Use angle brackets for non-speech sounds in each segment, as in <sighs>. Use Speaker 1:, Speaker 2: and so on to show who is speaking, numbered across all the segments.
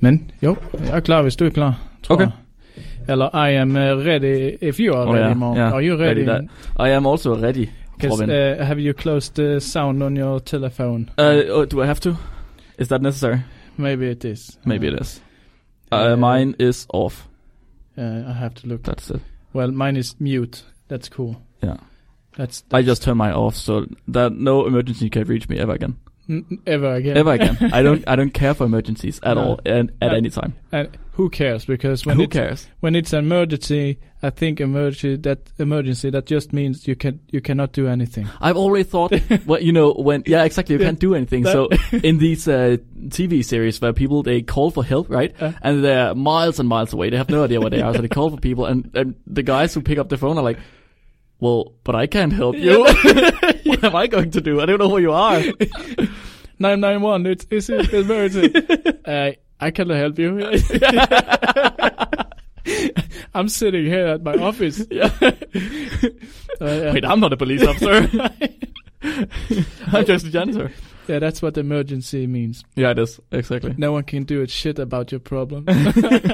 Speaker 1: Men jo, jeg er klar hvis du er klar, tror
Speaker 2: Okay.
Speaker 1: jeg. Eller I am uh, ready if you are
Speaker 2: Oh,
Speaker 1: ready,
Speaker 2: yeah,
Speaker 1: Morten.
Speaker 2: yeah.
Speaker 1: Are you ready?
Speaker 2: Ready that. I am also ready,
Speaker 1: 'Cause,
Speaker 2: Robin.
Speaker 1: uh, have you closed the sound on your telephone?
Speaker 2: Uh, oh, do I have to? Is that necessary?
Speaker 1: Maybe it is.
Speaker 2: Maybe
Speaker 1: Uh,
Speaker 2: it is. Uh,
Speaker 1: uh,
Speaker 2: mine is off.
Speaker 1: Uh, I have to look.
Speaker 2: That's it.
Speaker 1: Well, mine is mute. That's cool.
Speaker 2: Yeah.
Speaker 1: That's,
Speaker 2: I just turn mine off so that no emergency can reach me ever again.
Speaker 1: n- n- ever again.
Speaker 2: Ever
Speaker 1: <laughs>
Speaker 2: again. I don't. I don't care for emergencies at
Speaker 1: No.
Speaker 2: all and at
Speaker 1: No.
Speaker 2: any time.
Speaker 1: And who cares? Because when
Speaker 2: Who
Speaker 1: it's
Speaker 2: cares?
Speaker 1: when it's an emergency, I think emergency that emergency that just means you can you cannot do
Speaker 2: <laughs>
Speaker 1: anything. <laughs>
Speaker 2: I've already thought, well, you know, when yeah, exactly, you
Speaker 1: Yeah.
Speaker 2: can't do anything.
Speaker 1: That-
Speaker 2: So
Speaker 1: <laughs>
Speaker 2: in these uh, TV series where people they call for help, right?
Speaker 1: Yeah.
Speaker 2: And they're miles and miles away. They have no idea where they are, so they call for people, and, and the guys who pick up the phone are like, "Well, but I can't help you. <laughs> what am I going to do? I don't know where you are."
Speaker 1: <laughs> Nine nine one. It's it's an emergency. uh, I cannot help you. <laughs> I'm sitting here at my office.
Speaker 2: <laughs>
Speaker 1: <laughs>
Speaker 2: Yeah.
Speaker 1: Uh, yeah.
Speaker 2: Wait, I'm not a police officer. <laughs> I'm just a janitor.
Speaker 1: <laughs> yeah, that's what emergency means.
Speaker 2: Yeah, it is exactly.
Speaker 1: No one can do a shit about your problem.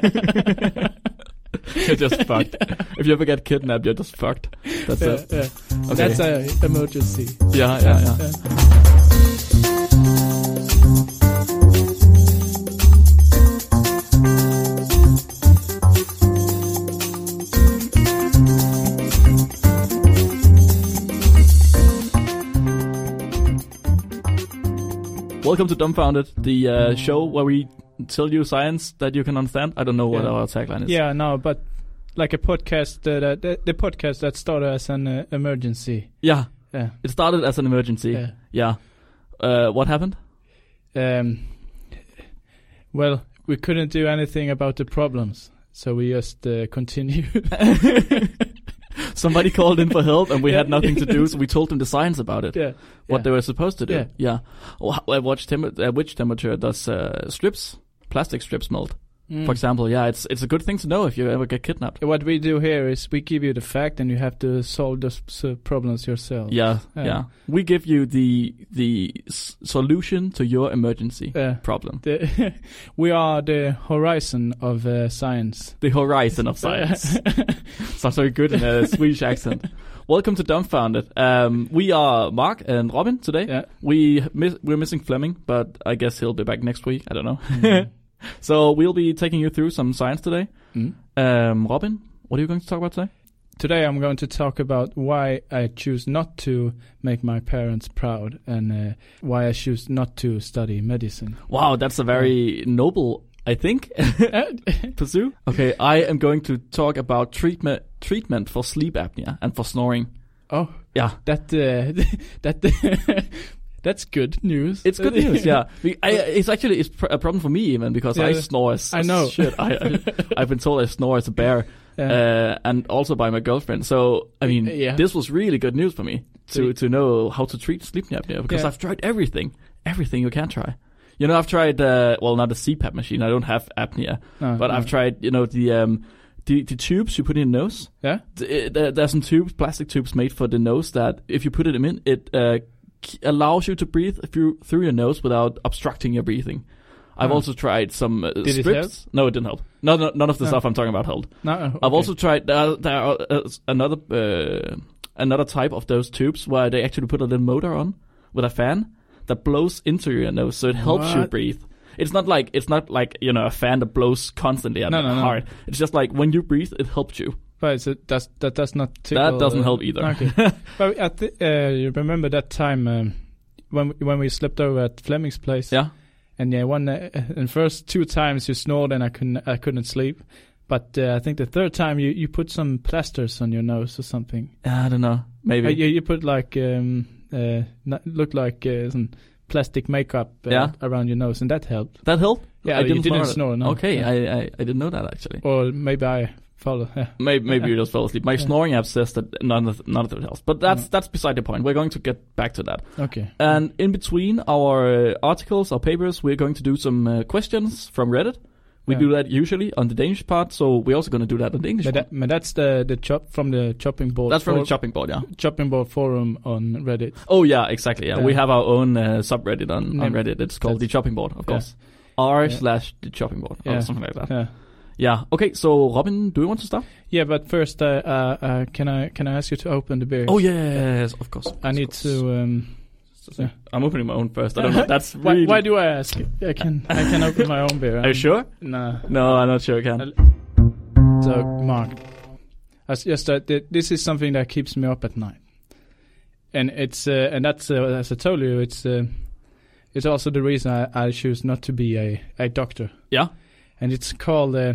Speaker 2: <laughs>
Speaker 1: <laughs>
Speaker 2: You're just fucked. If you ever get kidnapped, you're just fucked. That's
Speaker 1: Yeah,
Speaker 2: it.
Speaker 1: yeah.
Speaker 2: Okay.
Speaker 1: That's an emergency.
Speaker 2: yeah, yeah, yeah.
Speaker 1: Yeah.
Speaker 2: Welcome to Dumbfounded, the uh, show where we tell you science that you can understand. I don't know what
Speaker 1: Yeah.
Speaker 2: our tagline is.
Speaker 1: Yeah, no, but like a podcast, uh, that, the, the podcast that started as an uh, emergency.
Speaker 2: Yeah.
Speaker 1: Yeah.
Speaker 2: It started as an emergency.
Speaker 1: yeah.
Speaker 2: Yeah. Uh, what happened? <laughs>
Speaker 1: Um, well, we couldn't do anything about the problems, so we just uh, <laughs> continue.
Speaker 2: Somebody called in for help, and we had nothing to do, so we told them the science about it.
Speaker 1: yeah.
Speaker 2: What
Speaker 1: yeah.
Speaker 2: they were supposed to do.
Speaker 1: Yeah.
Speaker 2: yeah. Wh- At which, tem- at which temperature does uh, strips, plastic strips, melt?
Speaker 1: Mm.
Speaker 2: For example, yeah, it's it's a good thing to know if you ever get kidnapped.
Speaker 1: What we do here is we give you the fact, and you have to solve those uh, problems yourself.
Speaker 2: Yeah,
Speaker 1: Yeah.
Speaker 2: yeah, We give you the the s- solution to your emergency
Speaker 1: Uh,
Speaker 2: problem.
Speaker 1: the <laughs> we are the horizon of uh, science.
Speaker 2: The horizon
Speaker 1: <laughs>
Speaker 2: of science. Mm-hmm. Sounds very good in a Swedish accent. Welcome to Dumbfounded. Um, we are Mark and Robin today.
Speaker 1: yeah.
Speaker 2: We miss, we're missing Fleming, but I guess he'll be back next week. I don't know.
Speaker 1: Mm.
Speaker 2: So we'll be taking you through some science today.
Speaker 1: Mm.
Speaker 2: Um, Robin, what are you going to talk about today?
Speaker 1: Today I'm going to talk about why I choose not to make my parents proud and uh, why I choose not to study
Speaker 2: <laughs>
Speaker 1: medicine. <laughs>
Speaker 2: Wow, that's a very noble, I think, <laughs> pursue. Okay, I am going to talk about treatment treatment for sleep apnea and for snoring.
Speaker 1: oh,
Speaker 2: Yeah,
Speaker 1: that uh, <laughs> that that's good news.
Speaker 2: it's
Speaker 1: <laughs>
Speaker 2: good news. Yeah, We- I, it's actually it's pr- a problem for me even because I
Speaker 1: Yeah.
Speaker 2: snore. As,
Speaker 1: I know.
Speaker 2: as Shit, I,
Speaker 1: <laughs>
Speaker 2: I, I've been told I snore as a bear,
Speaker 1: Yeah.
Speaker 2: uh, and also by my girlfriend. So I mean,
Speaker 1: Yeah.
Speaker 2: this was really good news for me to to know how to treat sleep apnea because
Speaker 1: Yeah.
Speaker 2: I've tried everything, everything you can try. You know, I've tried uh, well, not a CPAP machine. I don't have apnea,
Speaker 1: No,
Speaker 2: but
Speaker 1: no.
Speaker 2: I've tried you know the um the, the tubes you put in your nose.
Speaker 1: yeah.
Speaker 2: Th- there- there's some tubes, plastic tubes made for the nose that if you put it in, it uh, k- allows you to breathe through through your nose without obstructing your breathing. I've
Speaker 1: Ah.
Speaker 2: also tried some uh,
Speaker 1: it
Speaker 2: strips.
Speaker 1: help? Ah.
Speaker 2: No, it didn't help. No, no none of the
Speaker 1: No.
Speaker 2: stuff I'm talking about helped.
Speaker 1: No. okay.
Speaker 2: I've also tried there, are- there are, uh, s- another uh, another type of those tubes where they actually put a little motor on with a fan that blows into your nose, so it helps you
Speaker 1: What?
Speaker 2: breathe. It's not like it's not like you know a fan that blows constantly at
Speaker 1: No,
Speaker 2: the
Speaker 1: no, no.
Speaker 2: heart. It's just like when you breathe, it helps you.
Speaker 1: But it's, it does, that does not tickle,
Speaker 2: that doesn't
Speaker 1: uh,
Speaker 2: help either.
Speaker 1: Okay. but I th- uh, you remember that time um, when when we slept over at Fleming's place?
Speaker 2: Yeah.
Speaker 1: And yeah, one uh, and first two times you snored and I couldn't I couldn't sleep. But uh, I think the third time you, you put some plasters on your nose or something.
Speaker 2: <laughs> I don't know. Maybe.
Speaker 1: Uh, you, you put like um uh no- looked like uh, some plastic makeup uh,
Speaker 2: Yeah.
Speaker 1: around your nose and that helped.
Speaker 2: that helped?
Speaker 1: Yeah, you didn't
Speaker 2: that.
Speaker 1: snore, no.
Speaker 2: Okay,
Speaker 1: Yeah.
Speaker 2: I, I I didn't know that actually.
Speaker 1: Or maybe I follow. <laughs> Yeah.
Speaker 2: Maybe maybe you just fell asleep. My
Speaker 1: Yeah.
Speaker 2: snoring app says that none of none of it helps, but that's
Speaker 1: Mm.
Speaker 2: that's beside the point. We're going to get back to that.
Speaker 1: Okay.
Speaker 2: And in between our uh, articles, our papers, we're going to do some uh, questions from Reddit. We
Speaker 1: Yeah.
Speaker 2: do that usually on the Danish part, so we're also going to do that on the English.
Speaker 1: But,
Speaker 2: part.
Speaker 1: that, but that's the the chop from the chopping board.
Speaker 2: that's from the
Speaker 1: for-
Speaker 2: chopping board, yeah.
Speaker 1: chopping board forum on Reddit.
Speaker 2: Oh yeah, exactly. Yeah,
Speaker 1: Yeah.
Speaker 2: we have our own uh, subreddit on, on
Speaker 1: Name-
Speaker 2: Reddit. It's called
Speaker 1: that's-
Speaker 2: the chopping board, of
Speaker 1: yeah.
Speaker 2: course. r
Speaker 1: Yeah.
Speaker 2: slash the chopping board or
Speaker 1: Yeah.
Speaker 2: something like that.
Speaker 1: Yeah.
Speaker 2: Yeah. Okay. So Robin, do you want to start?
Speaker 1: Yeah, but first, uh, uh, uh, can I can I ask you to open the beer?
Speaker 2: Oh yes, of course.
Speaker 1: I
Speaker 2: of
Speaker 1: need
Speaker 2: course.
Speaker 1: to. Um, yeah.
Speaker 2: I'm opening my own first. I don't know. That's
Speaker 1: why,
Speaker 2: really.
Speaker 1: why do I ask? I can I can open my own beer.
Speaker 2: Are you sure?
Speaker 1: Nah.
Speaker 2: No, I'm not sure. I can.
Speaker 1: So Mark, that's just that th- this is something that keeps me up at night, and it's uh, and that's uh, as I told you, it's uh, it's also the reason I, I choose not to be a, a doctor.
Speaker 2: Yeah.
Speaker 1: and it's called. Uh,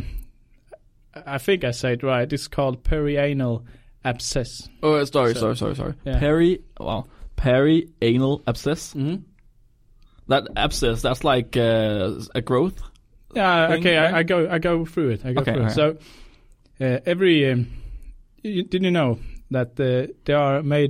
Speaker 1: I think I said it right. It's called perianal abscess.
Speaker 2: Oh, sorry,
Speaker 1: So-
Speaker 2: sorry, sorry, sorry.
Speaker 1: Yeah.
Speaker 2: Peri, wow, perianal abscess.
Speaker 1: Mm-hmm.
Speaker 2: That abscess, that's like uh, a growth.
Speaker 1: Yeah,
Speaker 2: thing,
Speaker 1: okay.
Speaker 2: right?
Speaker 1: I, I go. I go through it. I go
Speaker 2: Okay,
Speaker 1: through it.
Speaker 2: alright.
Speaker 1: So uh, every um, you, did you know that uh, there are made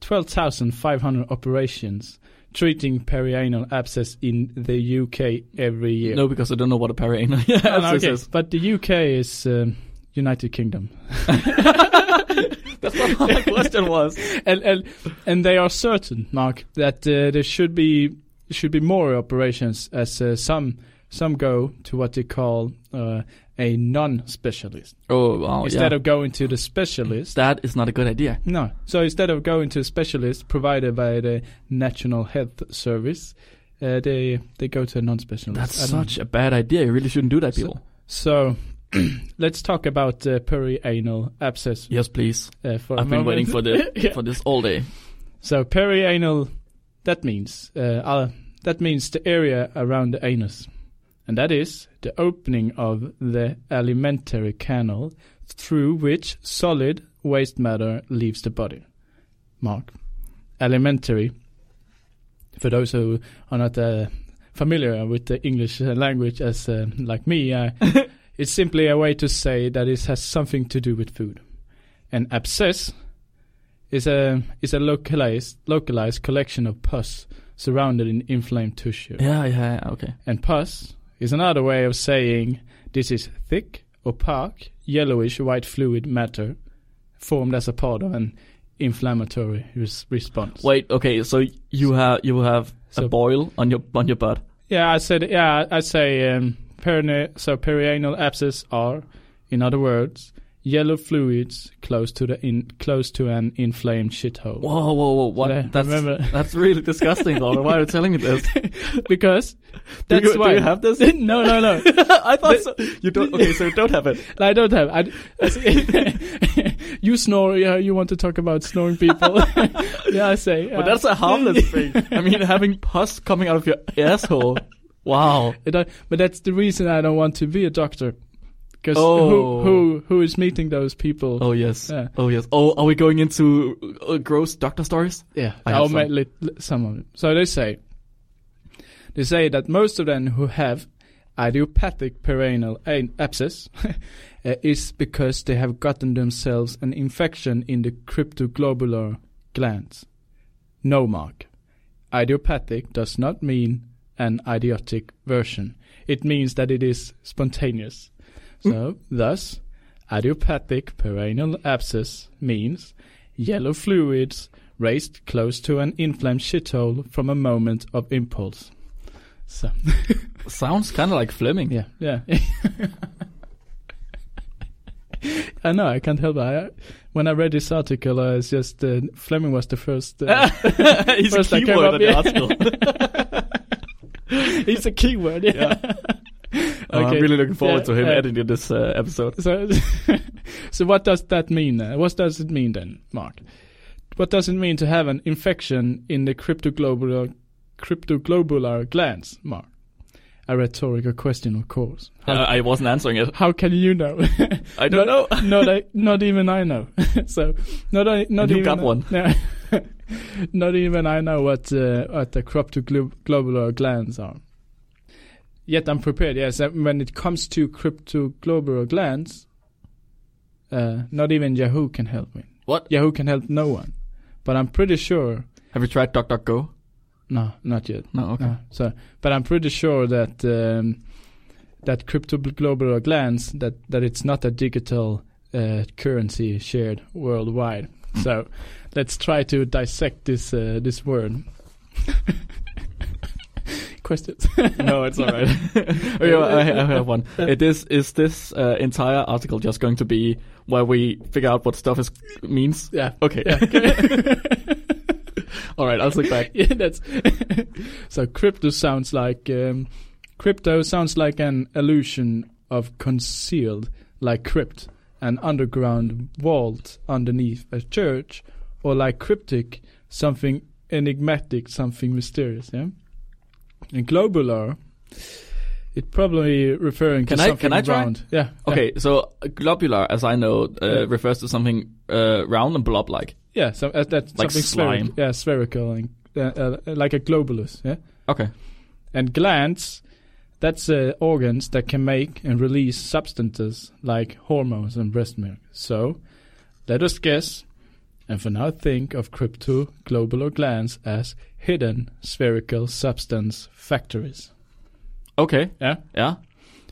Speaker 1: twelve thousand five hundred operations treating perianal abscess in the UK every year. <laughs>
Speaker 2: No, because I don't know what a <laughs> perianal
Speaker 1: No, no,
Speaker 2: abscess
Speaker 1: okay. <laughs>
Speaker 2: is.
Speaker 1: But the UK is um, United
Speaker 2: <laughs>
Speaker 1: Kingdom, <laughs>
Speaker 2: That's what my question was.
Speaker 1: and and and they are certain, Mark, that uh, there should be should be more operations as uh, some some go to what they call uh, a non-specialist.
Speaker 2: Oh, wow,
Speaker 1: instead
Speaker 2: yeah.
Speaker 1: of going to the specialist.
Speaker 2: that is not a good idea.
Speaker 1: No. So instead of going to a specialist provided by the National Health Service, uh, they they go to a non-specialist.
Speaker 2: That's
Speaker 1: I don't know.
Speaker 2: such a bad idea. You really shouldn't do that,
Speaker 1: So-
Speaker 2: people.
Speaker 1: So <clears throat> let's talk about uh, perianal abscess.
Speaker 2: yes, please.
Speaker 1: Uh, for a
Speaker 2: I've been
Speaker 1: moment. <laughs>
Speaker 2: waiting for the
Speaker 1: Yeah.
Speaker 2: for this all day.
Speaker 1: So perianal, that means uh, uh, that means the area around the anus, and that is the opening of the alimentary canal through which solid waste matter leaves the body. Mark, alimentary. For those who are not uh, familiar with the English uh, language, as uh, like me, uh, it's simply a way to say that it has something to do with food. An abscess is a is a localized localized collection of pus surrounded in inflamed tissue.
Speaker 2: Yeah, yeah, yeah, okay.
Speaker 1: And pus is another way of saying this is thick, opaque, yellowish white fluid matter formed as a part of an inflammatory res- response.
Speaker 2: Wait, okay. So you have you have a
Speaker 1: So-
Speaker 2: boil on your on your butt.
Speaker 1: Yeah, I said yeah, I say um, perine- so perianal abscess are in other words yellow fluids close to the in close to an inflamed shithole.
Speaker 2: Whoa, whoa, whoa! What?
Speaker 1: Yeah,
Speaker 2: that's
Speaker 1: remember- <laughs>
Speaker 2: that's really disgusting, Robert. Why are you telling me this?
Speaker 1: Because that's
Speaker 2: <laughs> do you,
Speaker 1: why
Speaker 2: Do you have this?
Speaker 1: <laughs> No, no, no.
Speaker 2: I thought so. you don't. Okay, so you don't have it.
Speaker 1: I don't have. I, I see- <laughs> you snore. Yeah, you want to talk about snoring people? <laughs> yeah, I say. uh,
Speaker 2: But that's
Speaker 1: <laughs>
Speaker 2: a harmless thing. I mean, having pus coming out of your asshole. Wow.
Speaker 1: It, I, but that's the reason I don't want to be a doctor, because
Speaker 2: Oh.
Speaker 1: who who who is meeting those people?
Speaker 2: Oh yes.
Speaker 1: Yeah.
Speaker 2: Oh yes. Oh, are we going into uh, gross doctor stories?
Speaker 1: Yeah,
Speaker 2: I have
Speaker 1: I'll
Speaker 2: some.
Speaker 1: make li- li- some of them. So they say, they say that most of them who have idiopathic perianal an- abscess <laughs> uh, is because they have gotten themselves an infection in the cryptoglobular glands. No mark. Idiopathic does not mean an idiotic version. It means that it is spontaneous. So, thus, idiopathic perianal abscess means yellow fluids raised close to an inflamed shithole from a moment of impulse. So, <laughs>
Speaker 2: Sounds kind of like Fleming.
Speaker 1: yeah, yeah. I know, I can't help it. I, when I read this article, I was just, uh, Fleming was the first. Uh,
Speaker 2: <laughs> He's
Speaker 1: First
Speaker 2: a
Speaker 1: I came
Speaker 2: keyword
Speaker 1: up
Speaker 2: in the
Speaker 1: here.
Speaker 2: article.
Speaker 1: <laughs> it's a keyword, yeah.
Speaker 2: Oh, I'm really looking forward
Speaker 1: yeah,
Speaker 2: to him
Speaker 1: yeah.
Speaker 2: editing this uh, episode.
Speaker 1: So, <laughs> so what does that mean? then? What does it mean then, Mark? What does it mean to have an infection in the cryptoglobular, cryptoglobular glands, Mark? A rhetorical question, of course.
Speaker 2: Uh, I wasn't answering it.
Speaker 1: How can you know?
Speaker 2: I don't know.
Speaker 1: not, <laughs> not, I, not even I know. <laughs> so not I, not
Speaker 2: You
Speaker 1: even <laughs>
Speaker 2: got one.
Speaker 1: No, not even I know what uh, what the cryptoglobular glands are. Yet I'm prepared. Yes, uh, when it comes to cryptoglobular glands, uh, not even Yahoo can help me.
Speaker 2: What?
Speaker 1: Yahoo can help no one. But I'm pretty sure.
Speaker 2: Have you tried DuckDuckGo?
Speaker 1: No, not yet.
Speaker 2: No. <laughs> Okay.
Speaker 1: No, so, but I'm pretty sure that um, that cryptoglobular glands that that it's not a digital uh, currency shared worldwide.
Speaker 2: Hmm.
Speaker 1: So, <laughs> let's try to dissect this uh, this word.
Speaker 2: questions?
Speaker 1: No, it's all
Speaker 2: <laughs>
Speaker 1: right.
Speaker 2: Oh, yeah, I, I have one. It is is this uh, entire article just going to be where we figure out what stuff is means?
Speaker 1: <laughs> yeah.
Speaker 2: Okay.
Speaker 1: Yeah,
Speaker 2: <laughs>
Speaker 1: <laughs>
Speaker 2: All right, I'll look back.
Speaker 1: yeah, that's <laughs> so. Crypto sounds like um, crypto sounds like an illusion of concealed, like crypt, an underground vault underneath a church, or like cryptic, something enigmatic, something mysterious. Yeah, and globular, it probably referring
Speaker 2: Can
Speaker 1: to
Speaker 2: I-
Speaker 1: something
Speaker 2: can I try?
Speaker 1: round. Yeah. yeah.
Speaker 2: Okay, so uh, globular, as I know, uh,
Speaker 1: Yeah.
Speaker 2: refers to something uh, round and blob-like.
Speaker 1: Yeah, so uh, that's
Speaker 2: Like
Speaker 1: something
Speaker 2: slime.
Speaker 1: spherical. Yeah, spherical, and, uh, uh, like a globulus. Yeah.
Speaker 2: Okay.
Speaker 1: And glands, that's uh, organs that can make and release substances like hormones and breast milk. So, let us guess, and for now think of cryptoglobular glands as hidden spherical substance factories.
Speaker 2: Okay.
Speaker 1: Yeah.
Speaker 2: Yeah.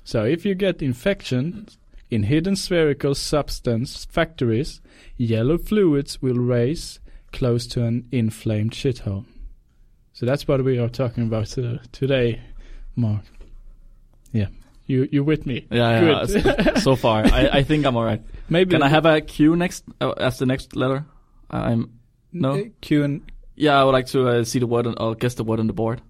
Speaker 1: So if you get infections in hidden spherical substance factories, yellow fluids will raise close to an inflamed shithole. So that's what we are talking about uh, today, Mark. Yeah, you you with me?
Speaker 2: Yeah. yeah,
Speaker 1: Good.
Speaker 2: so- so far, I, I think I'm all
Speaker 1: <laughs>
Speaker 2: right.
Speaker 1: Maybe
Speaker 2: Can I have a Q next uh, as the next letter? Uh, I'm. no?
Speaker 1: uh, Q and
Speaker 2: Yeah, I would like to uh, see the word on, or guess the word on the board.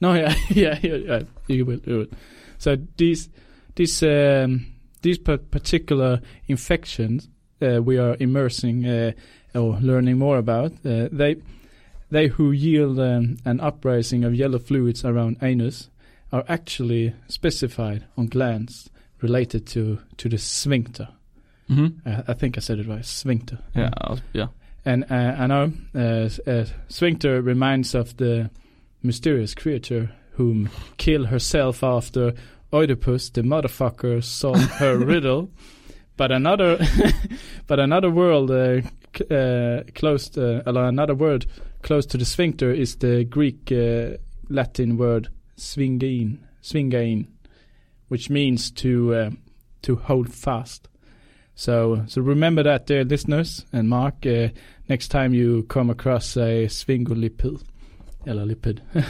Speaker 1: no, <laughs> yeah, yeah, yeah, yeah, you will do it. So these these um, these par- particular infections uh, we are immersing uh, or learning more about uh, they they who yield um, an uprising of yellow fluids around anus are actually specified on glands related to to the sphincter.
Speaker 2: Mm-hmm.
Speaker 1: Uh, I think I said it right, sphincter.
Speaker 2: Yeah. I was- yeah.
Speaker 1: And uh, I know uh, s- uh, Sphincter reminds of the mysterious creature whom kill herself after Oedipus the motherfucker solved her riddle. But another, <laughs> but another world uh, c- uh, close, uh, or another word close to the sphincter is the Greek uh, Latin word swingein, swingein, which means to uh, to hold fast. So so remember that, dear listeners and Mark. Uh, next time you come across a sphingolipid, eller lipid. <laughs>